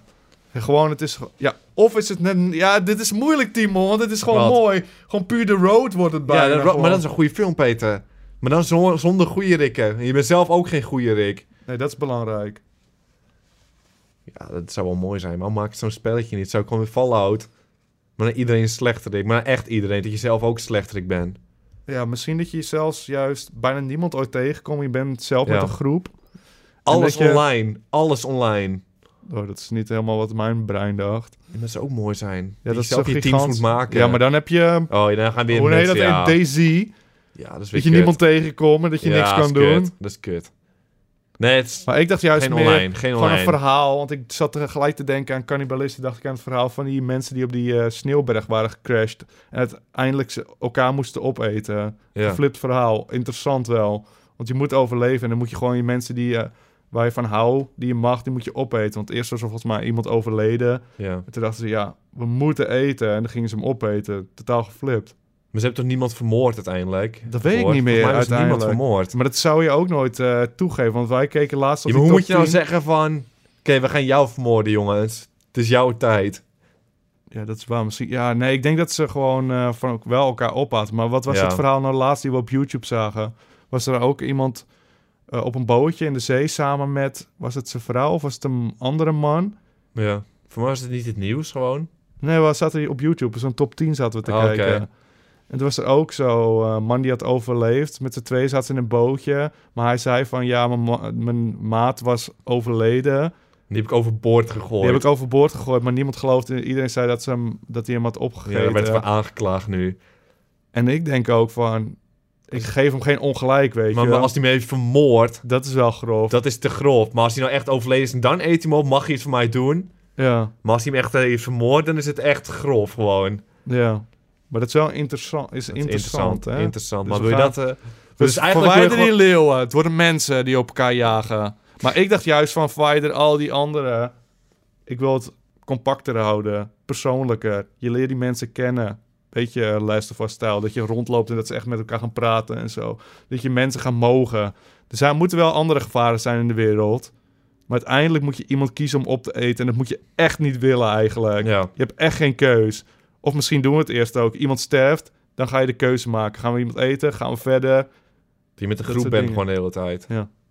Speaker 2: gewoon, het is... Ja, of is het net... een- Ja, dit is moeilijk, Timo, want het is gewoon
Speaker 3: Wat?
Speaker 2: mooi. Gewoon puur de road wordt het bijna.
Speaker 3: Ja, dat-
Speaker 2: gewoon.
Speaker 3: maar dat is een goede film, Peter. Maar dan zon- zonder goede rikken. En je bent zelf ook geen goede rik.
Speaker 2: Nee, dat is belangrijk.
Speaker 3: Ja, dat zou wel mooi zijn. Waarom maak je zo'n spelletje niet? Zou ik gewoon weer Fallout... Maar dan iedereen een slechterik. Maar dan echt iedereen. Dat je zelf ook slechterik bent.
Speaker 2: Ja, misschien dat je zelfs juist bijna niemand ooit tegenkomt. Je bent zelf
Speaker 3: Ja.
Speaker 2: met een groep.
Speaker 3: Alles
Speaker 2: dat je-
Speaker 3: online. Alles online.
Speaker 2: Oh, dat is niet helemaal wat mijn brein dacht.
Speaker 3: En dat zou ook mooi zijn.
Speaker 2: Ja, dat
Speaker 3: je
Speaker 2: is
Speaker 3: zelf
Speaker 2: zo
Speaker 3: je
Speaker 2: gigantisch.
Speaker 3: teams moet maken.
Speaker 2: Ja, maar dan heb je...
Speaker 3: Oh, ja, dan gaan weer
Speaker 2: Hoe heet dat?
Speaker 3: mensen, ja.
Speaker 2: Daisy.
Speaker 3: Ja, dat is weer
Speaker 2: Dat je
Speaker 3: kut.
Speaker 2: niemand tegenkomt en dat je
Speaker 3: Ja,
Speaker 2: niks kan
Speaker 3: dat is
Speaker 2: doen.
Speaker 3: kut. Dat is kut. Nee, het is
Speaker 2: Maar ik dacht juist
Speaker 3: geen
Speaker 2: meer...
Speaker 3: online. Geen
Speaker 2: Gewoon een
Speaker 3: online.
Speaker 2: verhaal, want ik zat er gelijk te denken aan cannibalisten. Dacht ik aan het verhaal van die mensen die op die eh, sneeuwberg waren gecrashed. En uiteindelijk ze elkaar moesten opeten.
Speaker 3: Ja.
Speaker 2: Geflipt verhaal, interessant wel. Want je moet overleven en dan moet je gewoon je mensen die, eh, waar je van houdt, die je mag, die moet je opeten. Want eerst was er volgens mij iemand overleden.
Speaker 3: ja.
Speaker 2: En toen dachten ze, ja, we moeten eten. En dan gingen ze hem opeten. Totaal geflipt.
Speaker 3: Maar ze hebben toch niemand vermoord uiteindelijk?
Speaker 2: Dat weet ik
Speaker 3: Vermoord?
Speaker 2: niet meer,
Speaker 3: Volgens mij is er niemand
Speaker 2: uiteindelijk.
Speaker 3: vermoord.
Speaker 2: Maar dat zou je ook nooit eh, toegeven, want wij keken laatst op
Speaker 3: Ja, maar
Speaker 2: die
Speaker 3: hoe moet
Speaker 2: top
Speaker 3: je nou
Speaker 2: 10.
Speaker 3: zeggen van... Oké, we gaan jou vermoorden, jongens. Het is jouw tijd.
Speaker 2: Ja, dat is waar. Misschien, ja, nee, ik denk dat ze gewoon eh, van wel elkaar ophaten. Maar wat was
Speaker 3: Ja.
Speaker 2: het verhaal nou laatst die we op YouTube zagen? Was er ook iemand eh, op een bootje in de zee samen met... Was het zijn vrouw of was het een andere man?
Speaker 3: Ja. Voor mij was het niet het nieuws gewoon.
Speaker 2: Nee, we zaten hier op YouTube. Zo'n top 10 zaten we te
Speaker 3: Oh, oké.
Speaker 2: kijken. En toen was er ook zo eh, een man die had overleefd. Met z'n twee zaten ze in een bootje. Maar hij zei van, ja, mijn, ma- mijn maat was overleden.
Speaker 3: Die heb ik overboord gegooid.
Speaker 2: Die heb ik overboord gegooid, maar niemand geloofde. Iedereen zei dat, ze hem, dat hij hem had opgegeten.
Speaker 3: ja, daar werd van aangeklaagd nu.
Speaker 2: En ik denk ook van, ik geef hem geen ongelijk, weet
Speaker 3: Maar,
Speaker 2: je.
Speaker 3: maar als hij me heeft vermoord,
Speaker 2: Dat is wel grof.
Speaker 3: dat is te grof. Maar als hij nou echt overleden is en dan eet hij hem op, mag je iets van mij doen.
Speaker 2: Ja,
Speaker 3: Maar als hij hem echt eh, heeft vermoord, dan is het echt grof gewoon.
Speaker 2: ja. Maar dat is wel interessant. Is
Speaker 3: Dat is
Speaker 2: interessant, hè?
Speaker 3: Interessant.
Speaker 2: Dus
Speaker 3: Maar
Speaker 2: we
Speaker 3: wil je
Speaker 2: gaan-
Speaker 3: dat... eh,
Speaker 2: Dus,
Speaker 3: dus eigenlijk wil je
Speaker 2: verwijder die leeuwen. Het worden mensen die op elkaar jagen. Maar ik dacht juist van verwijder al die anderen. Ik wil het compacter houden. Persoonlijker. Je leert die mensen kennen. Beetje eh, Last of Us stijl. Dat je rondloopt en dat ze echt met elkaar gaan praten en zo. Dat je mensen gaan mogen. Dus er moeten wel andere gevaren zijn in de wereld. Maar uiteindelijk moet je iemand kiezen om op te eten. En dat moet je echt niet willen eigenlijk.
Speaker 3: Ja.
Speaker 2: Je hebt echt geen keus. Of misschien doen we het eerst ook. Iemand sterft, dan ga je de keuze maken. Gaan we iemand eten? Gaan we verder?
Speaker 3: Die met de
Speaker 2: Dat
Speaker 3: groep
Speaker 2: soort
Speaker 3: bent
Speaker 2: dingen.
Speaker 3: gewoon de hele tijd.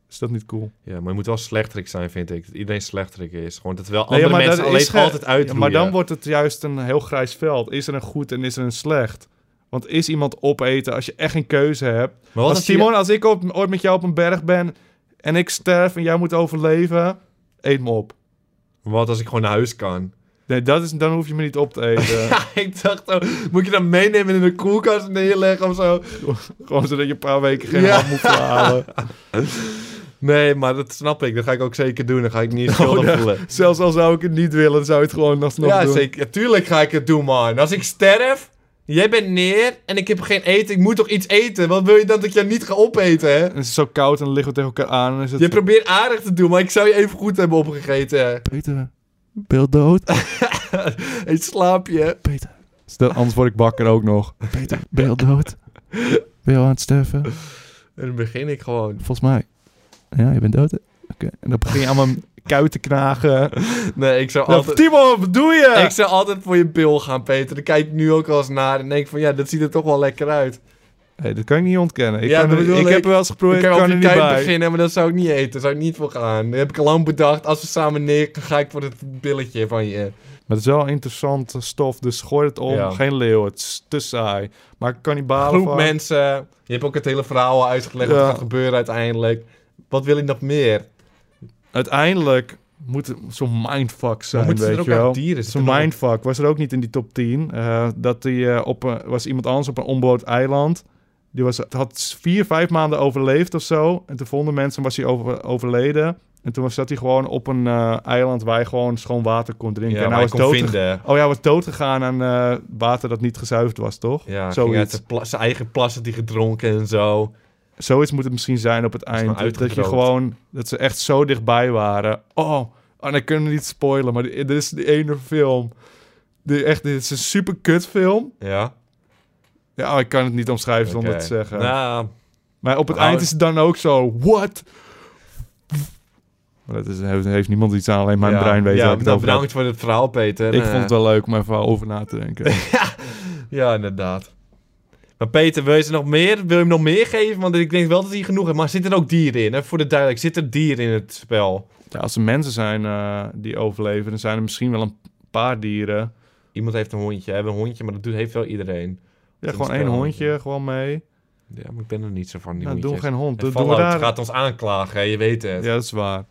Speaker 2: Is dat niet cool?
Speaker 3: Ja, maar je moet wel slechterik zijn, vind ik. Dat iedereen slechterik is. Gewoon dat wel
Speaker 2: Nee,
Speaker 3: andere
Speaker 2: ja, maar
Speaker 3: mensen
Speaker 2: dat
Speaker 3: alleen
Speaker 2: is ge-
Speaker 3: altijd uitroeien.
Speaker 2: maar dan wordt het juist een heel grijs veld. Is er een goed en is er een slecht? Want is iemand opeten als je echt geen keuze hebt?
Speaker 3: Maar wat
Speaker 2: Als
Speaker 3: als je-
Speaker 2: Timon, als ik op, ooit met jou op een berg ben en ik sterf en jij moet overleven, eet me op.
Speaker 3: Wat als ik gewoon naar huis kan? [LAUGHS]
Speaker 2: Nee, dat is, dan hoef je me niet op te eten.
Speaker 3: Ja, ik dacht ook, moet je dat meenemen in de koelkast neerleggen of zo?
Speaker 2: Gewoon zodat je een paar weken geen
Speaker 3: Ja.
Speaker 2: hand moet halen.
Speaker 3: Nee, maar dat snap ik. Dat ga ik ook zeker doen. Dan ga
Speaker 2: [LAUGHS]
Speaker 3: ik niet schuldig voelen.
Speaker 2: Zelfs al zou ik het niet willen, dan zou je het gewoon alsnog
Speaker 3: Ja,
Speaker 2: Oh, doen.
Speaker 3: zeker. Ja, tuurlijk ga ik het doen, man. Als ik sterf, jij bent neer en ik heb geen eten. Ik moet toch iets eten? Wat wil je dan dat ik jou niet ga opeten, hè?
Speaker 2: En het is zo koud en dan liggen we tegen elkaar aan. En dan is het...
Speaker 3: Je probeert aardig te doen, maar ik zou je even goed hebben opgegeten.
Speaker 2: Peter, Bill dood. Oh,
Speaker 3: Hey, slaap je.
Speaker 2: Peter. Stel, anders word ik bakker ook nog. Peter, Bill dood. Bill aan het sterven.
Speaker 3: En dan begin ik gewoon.
Speaker 2: Volgens mij. Ja, je bent dood. hè? Oké. En dan begin je aan mijn kuit te knagen.
Speaker 3: Nee, ik zou
Speaker 2: Ja,
Speaker 3: altijd...
Speaker 2: Nou, Timo, wat doe je?
Speaker 3: Ik zou altijd voor je bil gaan, Peter. Dan kijk ik nu ook al eens naar en denk van, ja, dat ziet er toch wel lekker uit.
Speaker 2: Hey, dat kan ik niet ontkennen. Ik,
Speaker 3: Ja,
Speaker 2: kan
Speaker 3: dat
Speaker 2: er-
Speaker 3: bedoel
Speaker 2: ik
Speaker 3: ik.
Speaker 2: heb er wel eens geprobeerd,
Speaker 3: Ik
Speaker 2: ik
Speaker 3: kan
Speaker 2: kan
Speaker 3: wel
Speaker 2: er
Speaker 3: die
Speaker 2: niet
Speaker 3: tijd
Speaker 2: bij.
Speaker 3: beginnen, maar dat zou ik niet eten. Daar zou ik niet voor gaan. Dat heb ik al lang bedacht. Als we samen neer, dan ga ik voor het billetje van je.
Speaker 2: Maar het is wel interessante stof, dus gooi het om.
Speaker 3: Ja.
Speaker 2: Geen leeuw, het is te saai. Maar ik kan niet balen
Speaker 3: Groep
Speaker 2: van...
Speaker 3: mensen. Je hebt ook het hele verhaal al uitgelegd wat
Speaker 2: Ja.
Speaker 3: er gaat gebeuren uiteindelijk. Wat wil je nog meer?
Speaker 2: Uiteindelijk moet het zo'n mindfuck zijn,
Speaker 3: moeten
Speaker 2: weet
Speaker 3: er ook
Speaker 2: je wel.
Speaker 3: aan dieren? Zit
Speaker 2: Zo'n
Speaker 3: er nog-
Speaker 2: mindfuck was er ook niet in die top 10. Eh, dat die, eh, op een- was iemand anders op een onbewoond eiland. Die was, had vier, vijf maanden overleefd of zo. En toen vonden mensen, was hij over, overleden. En toen was, zat hij gewoon op een eh, eiland waar hij gewoon schoon water kon drinken.
Speaker 3: Ja,
Speaker 2: en
Speaker 3: maar
Speaker 2: Nou, hij
Speaker 3: ik
Speaker 2: was
Speaker 3: kon
Speaker 2: dood.
Speaker 3: vinden.
Speaker 2: Oh ja, hij was doodgegaan aan eh, water dat niet gezuiverd was, toch?
Speaker 3: Ja,
Speaker 2: Zoiets.
Speaker 3: ging uit zijn pla- zijn eigen plassen die gedronken en zo.
Speaker 2: Zoiets moet het misschien zijn op het
Speaker 3: is
Speaker 2: eind.
Speaker 3: nou
Speaker 2: Dat, je
Speaker 3: uitgedroogd.
Speaker 2: gewoon, dat ze echt zo dichtbij waren. Oh, oh dan kunnen we niet spoilen, maar dit is die ene film. Die, echt, dit is een super kut film.
Speaker 3: Ja.
Speaker 2: Ja, oh, ik kan het niet omschrijven zonder
Speaker 3: Oké.
Speaker 2: het te zeggen.
Speaker 3: Nou,
Speaker 2: maar op het
Speaker 3: Nou,
Speaker 2: eind is het dan ook zo, what? Maar dat is, heeft, heeft niemand iets aan, alleen mijn
Speaker 3: ja.
Speaker 2: brein weet
Speaker 3: Ja,
Speaker 2: waar ik het
Speaker 3: nou,
Speaker 2: over heb.
Speaker 3: bedankt voor het verhaal, Peter.
Speaker 2: Ik
Speaker 3: Eh,
Speaker 2: vond het wel leuk om even over na te denken.
Speaker 3: [LAUGHS] Ja, inderdaad. Maar Peter, wil je ze nog meer? Wil je hem nog meer geven? Want ik denk wel dat hij genoeg heeft. Maar zitten er ook dieren in? Hè? Voor de duidelijk, zitten er dieren in het spel?
Speaker 2: ja, als er mensen zijn eh, die overleven, dan zijn er misschien wel een paar dieren.
Speaker 3: Iemand heeft een hondje. Hè? We hebben een hondje, maar dat doet, heeft wel iedereen.
Speaker 2: Ja,
Speaker 3: Soms
Speaker 2: gewoon één
Speaker 3: wel.
Speaker 2: hondje, gewoon mee.
Speaker 3: Ja, maar ik ben er niet zo van, die
Speaker 2: Nou, doen we
Speaker 3: hondjes.
Speaker 2: geen hond.
Speaker 3: En
Speaker 2: Dan doen we
Speaker 3: Fallout
Speaker 2: daar...
Speaker 3: gaat ons aanklagen, hè? je weet het.
Speaker 2: Ja, dat is waar.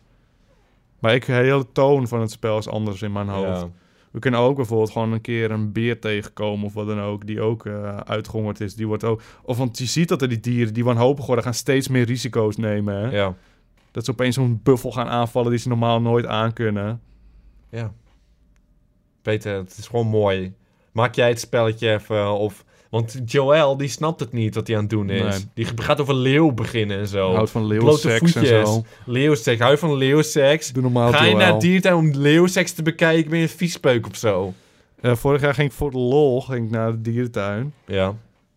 Speaker 2: Maar ik, de hele toon van het spel is anders in mijn
Speaker 3: Ja.
Speaker 2: hoofd. We kunnen ook bijvoorbeeld gewoon een keer een beer tegenkomen of wat dan ook, die ook eh uitgehongerd is. Die wordt ook. Of want je ziet dat er die dieren die wanhopig worden, gaan steeds meer risico's nemen. Hè?
Speaker 3: Ja.
Speaker 2: Dat ze opeens zo'n buffel gaan aanvallen die ze normaal nooit aankunnen.
Speaker 3: ja. Peter, het is gewoon mooi. Maak jij het spelletje even, eh, of... Want Joel, die snapt het niet wat hij aan het doen is.
Speaker 2: Nee.
Speaker 3: Die gaat over leeuw beginnen en zo.
Speaker 2: Houdt van
Speaker 3: Oh. blote
Speaker 2: leeuwseks en
Speaker 3: voetjes.
Speaker 2: zo.
Speaker 3: Leeuwseks, hou je van leeuwseks?
Speaker 2: Doe normaal,
Speaker 3: Ga je
Speaker 2: Joël.
Speaker 3: naar diertuin om leeuwseks te bekijken? Ben je een viespeuk of zo?
Speaker 2: Eh, vorig jaar ging ik voor de lol ging ik naar de dierentuin.
Speaker 3: Ja.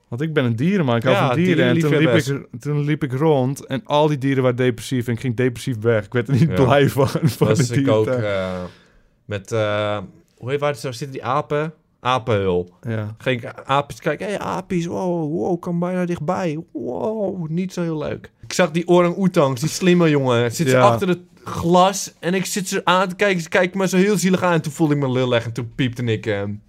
Speaker 2: Want ik ben een dierenman, ik hou
Speaker 3: Ja,
Speaker 2: van dieren. En toen liep,
Speaker 3: dierenliefhebbers.
Speaker 2: ik, toen liep ik rond en al die dieren waren depressief. En ik ging depressief weg. Ik werd er niet
Speaker 3: Ja.
Speaker 2: blij van. [LAUGHS] van
Speaker 3: Dat
Speaker 2: de
Speaker 3: is ik ook
Speaker 2: dierentuin.
Speaker 3: eh, met... eh, hoe heet waar zo zitten die apen? Apenhul.
Speaker 2: Ja.
Speaker 3: Ging ik aapjes kijken. Hé, hey, aapjes. Wow, wow, kan bijna dichtbij. Wow, niet zo heel leuk. Ik zag die orang-oetangs, die slimme jongen. Zit ze
Speaker 2: Ja.
Speaker 3: achter het glas en ik zit ze aan te kijken. Ze kijkt me zo heel zielig aan. En toen voelde ik me lullig en toen piepte ik hem.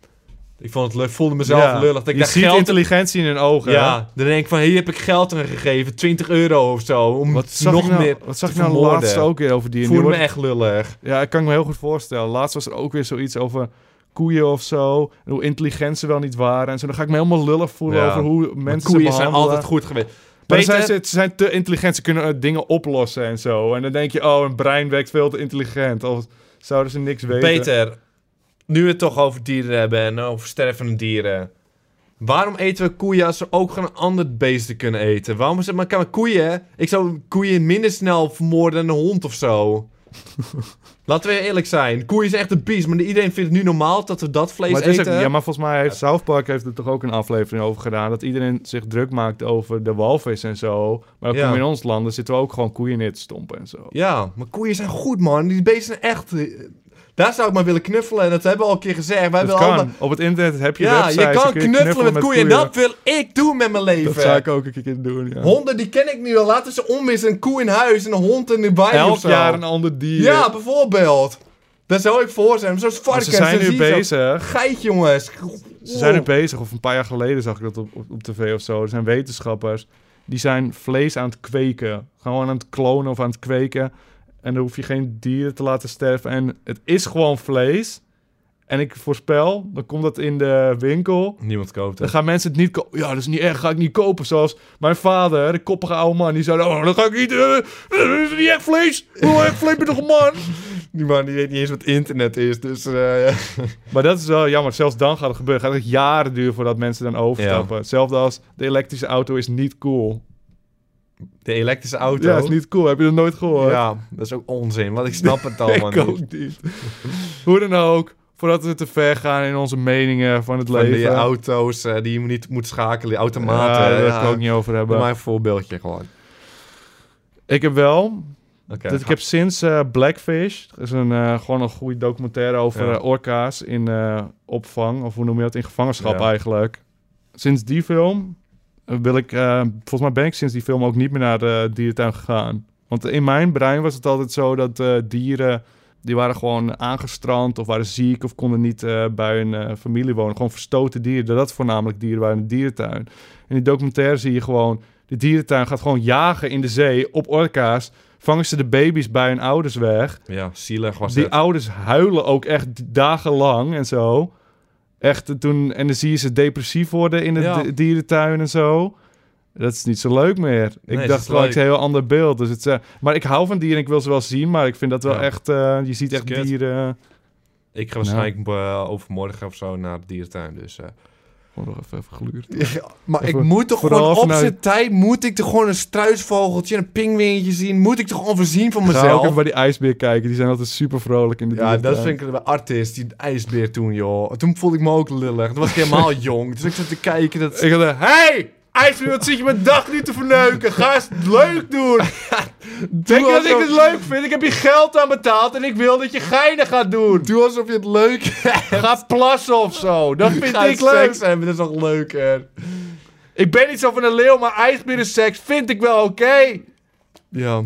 Speaker 3: Ik vond het, leuk- voelde mezelf
Speaker 2: Ja.
Speaker 3: lullig. Dat ik
Speaker 2: je
Speaker 3: daar
Speaker 2: ziet
Speaker 3: geld
Speaker 2: intelligentie in hun ogen. hè?
Speaker 3: Ja, dan denk ik van, hier heb ik geld aan gegeven, 20 euro of zo, om
Speaker 2: Wat zag
Speaker 3: nog
Speaker 2: ik nou,
Speaker 3: meer
Speaker 2: wat zag
Speaker 3: te
Speaker 2: ik nou
Speaker 3: vermoorden.
Speaker 2: laatst ook weer over dieren?
Speaker 3: Voelde
Speaker 2: Die
Speaker 3: me
Speaker 2: wordt-
Speaker 3: echt lullig.
Speaker 2: Ja, ik kan me heel goed voorstellen. Laatst was er ook weer zoiets over koeien of zo. En hoe intelligent ze wel niet waren. En zo. Dan ga ik me helemaal lullig voelen
Speaker 3: Ja.
Speaker 2: over hoe
Speaker 3: Mijn
Speaker 2: mensen
Speaker 3: koeien
Speaker 2: ze
Speaker 3: zijn
Speaker 2: behandelen.
Speaker 3: altijd goed geweest.
Speaker 2: Maar dan
Speaker 3: Peter,
Speaker 2: zijn ze, ze zijn te intelligent. Ze kunnen eh, dingen oplossen en zo. En dan denk je, oh, een brein werkt veel te intelligent. Of zouden ze niks weten.
Speaker 3: Peter, nu we het toch over dieren hebben en over stervende dieren. Waarom eten we koeien als we ook gewoon een ander beesten kunnen eten? Waarom is het maar kan koeien? Ik zou koeien minder snel vermoorden dan een hond of
Speaker 2: [LAUGHS]
Speaker 3: zo. Laten we eerlijk zijn. Koeien is echt een beest, maar iedereen vindt het nu normaal dat we dat vlees
Speaker 2: Maar het is ook-
Speaker 3: eten.
Speaker 2: ja, maar volgens mij heeft South Park heeft er toch ook een aflevering over gedaan. Dat iedereen zich druk maakt over de walvis en zo. Maar dan
Speaker 3: Ja.
Speaker 2: kom je in ons land, dan zitten we ook gewoon koeien neer te stompen en zo.
Speaker 3: Ja, maar koeien zijn goed, man. Die beesten zijn echt... eh, Daar zou ik maar willen knuffelen. En dat hebben we al een keer gezegd. Wij
Speaker 2: dat
Speaker 3: willen
Speaker 2: kan.
Speaker 3: allemaal-
Speaker 2: Op het internet heb je
Speaker 3: Ja,
Speaker 2: websites.
Speaker 3: je
Speaker 2: dan
Speaker 3: kan
Speaker 2: kun
Speaker 3: knuffelen met koeien. En dat wil ik doen met mijn leven.
Speaker 2: Dat zou ik ook een keer doen, ja.
Speaker 3: Honden, die ken ik nu al. Laten ze omwissen. Een koe in huis en een hond in de wei
Speaker 2: Elk
Speaker 3: of zo.
Speaker 2: jaar een ander dier.
Speaker 3: Ja, bijvoorbeeld. Daar zou ik voor zijn. Zoals
Speaker 2: Maar
Speaker 3: varkens.
Speaker 2: ze zijn
Speaker 3: en
Speaker 2: nu
Speaker 3: zie je zo-
Speaker 2: bezig.
Speaker 3: Geit, jongens.
Speaker 2: Ze zijn nu bezig, of een paar jaar geleden zag ik dat op, op, op tv of zo. Er zijn wetenschappers, die zijn vlees aan het kweken. Gewoon aan het klonen of aan het kweken. En dan hoef je geen dieren te laten sterven. En het is gewoon vlees. En ik voorspel, dan komt dat in de winkel.
Speaker 3: Niemand koopt
Speaker 2: Dan gaan mensen het niet kopen. Ja, dat is niet echt. Ga ik niet kopen. Zoals mijn vader, de koppige oude man. Die zei, oh, dat ga ik niet. eh, dat is niet echt vlees. Hoe echt vlees met een man?
Speaker 3: [LAUGHS] Die man die weet niet eens wat internet is. Dus eh, ja.
Speaker 2: Maar dat is wel jammer. Zelfs dan gaat het gebeuren. Gaat het jaren duren voordat mensen dan overstappen. Hetzelfde als de elektrische auto is niet cool.
Speaker 3: De elektrische auto.
Speaker 2: Ja, is niet cool. Heb je dat nooit gehoord?
Speaker 3: Ja, dat is ook onzin. Want ik snap [LAUGHS] het allemaal
Speaker 2: [LAUGHS] ik
Speaker 3: niet.
Speaker 2: ook niet. Hoe dan ook, voordat we te ver gaan in onze meningen van het
Speaker 3: Van
Speaker 2: leven.
Speaker 3: die auto's eh, die je niet moet schakelen, die automaten.
Speaker 2: Ja, daar
Speaker 3: eh,
Speaker 2: wil
Speaker 3: Ja,
Speaker 2: ik het ook niet over
Speaker 3: Doe
Speaker 2: hebben.
Speaker 3: maar een voorbeeldje gewoon.
Speaker 2: Ik heb wel
Speaker 3: Oké.
Speaker 2: Dus ik heb sinds eh, Blackfish, dat is een, eh, gewoon een goede documentaire over
Speaker 3: Ja.
Speaker 2: eh, orka's in eh, opvang, of hoe noem je dat, in gevangenschap
Speaker 3: Ja.
Speaker 2: eigenlijk. Sinds die film eh, wil ik, eh, volgens mij ben ik sinds die film ook niet meer naar de dierentuin gegaan. Want in mijn brein was het altijd zo dat eh, dieren, die waren gewoon aangestrand of waren ziek of konden niet eh, bij hun eh, familie wonen. Gewoon verstoten dieren, dat dat voornamelijk dieren waren in de dierentuin. In die documentaire zie je gewoon, de dierentuin gaat gewoon jagen in de zee op orka's vangen ze de baby's bij hun ouders weg.
Speaker 3: Ja, zielig was
Speaker 2: die
Speaker 3: het.
Speaker 2: ouders huilen ook echt dagenlang en zo. Echt eh, toen, en dan zie je ze depressief worden in de
Speaker 3: Ja.
Speaker 2: di- dierentuin en zo. Dat is niet zo leuk meer.
Speaker 3: Nee,
Speaker 2: ik
Speaker 3: is
Speaker 2: dacht
Speaker 3: het
Speaker 2: wel, het is een
Speaker 3: leuk.
Speaker 2: heel ander beeld. Dus het, eh, maar ik hou van dieren, ik wil ze wel zien. Maar ik vind dat wel
Speaker 3: Ja.
Speaker 2: echt, eh, je ziet
Speaker 3: Is
Speaker 2: echt
Speaker 3: kut.
Speaker 2: dieren...
Speaker 3: Ik ga waarschijnlijk eh, overmorgen of zo naar de dierentuin, dus... eh.
Speaker 2: Gewoon nog even, even geluurd.
Speaker 3: maar
Speaker 2: Even-
Speaker 3: ik moet toch
Speaker 2: vooral
Speaker 3: gewoon op
Speaker 2: vanuit-
Speaker 3: zijn tijd... Moet ik toch gewoon een struisvogeltje en een pingwingetje zien? Moet ik toch onvoorzien van
Speaker 2: Ga ook
Speaker 3: mezelf?
Speaker 2: even bij die ijsbeer kijken. Die zijn altijd super vrolijk in de
Speaker 3: Ja,
Speaker 2: dierentuin.
Speaker 3: dat vind ik de artist, die ijsbeer toen, joh. Toen voelde ik me ook lullig. Toen was ik
Speaker 2: [LAUGHS]
Speaker 3: helemaal jong. Dus ik zat te kijken dat...
Speaker 2: Ik had, hey, ijsbeer, wat zit je mijn dag niet te verneuken? Ga eens leuk
Speaker 3: [LAUGHS]
Speaker 2: doen. Denk je dat ik het leuk vind? Ik heb je geld aan betaald en ik wil dat je geinen gaat doen.
Speaker 3: Doe alsof je het leuk
Speaker 2: Ga plassen of zo. Dat vind
Speaker 3: Ga
Speaker 2: ik leuk.
Speaker 3: seks hebben, dat is toch leuker?
Speaker 2: Ik ben niet zo van een leeuw, maar ijsbierenseks vind ik wel oké.
Speaker 3: Ja.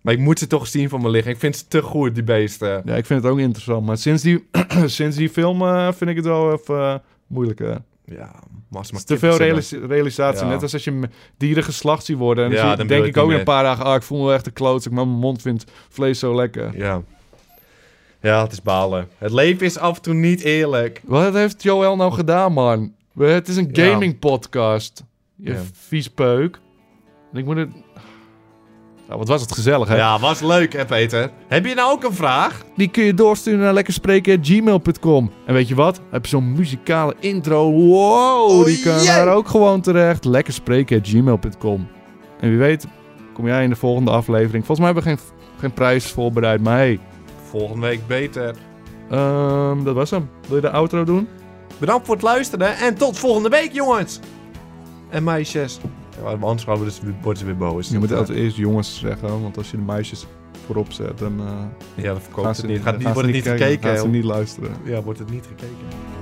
Speaker 3: Maar ik moet ze toch zien van mijn lichaam. Ik vind ze te goed, die beesten.
Speaker 2: Ja, ik vind het ook interessant. Maar sinds die, [CLEARS THROAT] sinds die film eh, vind ik het wel even eh, moeilijker. Het
Speaker 3: Ja, maar als
Speaker 2: is
Speaker 3: ze maar
Speaker 2: te veel
Speaker 3: kippen
Speaker 2: realis- realisatie.
Speaker 3: Ja.
Speaker 2: Net als als je m- dieren geslacht ziet worden. En
Speaker 3: Ja,
Speaker 2: dan zie-
Speaker 3: dan wil
Speaker 2: denk
Speaker 3: je
Speaker 2: ik
Speaker 3: het
Speaker 2: ook
Speaker 3: niet
Speaker 2: na een paar dagen, ah, ik voel me echt een klootzak. Maar mijn mond vindt vlees zo lekker.
Speaker 3: zijn. Ja. Ja, het is balen. Het leven is af en toe niet eerlijk.
Speaker 2: Wat heeft Joel nou gedaan, man? Het is een
Speaker 3: Ja.
Speaker 2: gaming podcast. Je
Speaker 3: Ja.
Speaker 2: vies peuk. En ik moet het. Nou, wat was het gezellig, hè?
Speaker 3: Ja, was leuk, hè Peter? Heb je nou ook een vraag?
Speaker 2: Die kun je doorsturen naar lekkerspreken.gmail.com. En weet je wat? Heb je zo'n muzikale intro? Wow,
Speaker 3: Oh,
Speaker 2: die kan
Speaker 3: jee.
Speaker 2: daar ook gewoon terecht. Lekkerspreken.gmail.com. En wie weet, kom jij in de volgende aflevering. Volgens mij hebben we geen, geen prijs voorbereid, maar hey,
Speaker 3: Volgende week beter.
Speaker 2: ehm, dat was hem. Wil je de outro doen?
Speaker 3: Bedankt voor het luisteren en tot volgende week, jongens. En meisjes. Ja, maar anders gaan we dus, worden ze weer boos.
Speaker 2: Je moet altijd eerst jongens zeggen, want als je de meisjes voorop zet, dan. eh,
Speaker 3: Ja, dat verkoopt
Speaker 2: Gaan
Speaker 3: het
Speaker 2: ze
Speaker 3: niet. Gaat niet,
Speaker 2: gaan ze
Speaker 3: wordt het niet
Speaker 2: kijken,
Speaker 3: gekeken.
Speaker 2: Gaan ze niet luisteren.
Speaker 3: Ja, wordt het niet gekeken.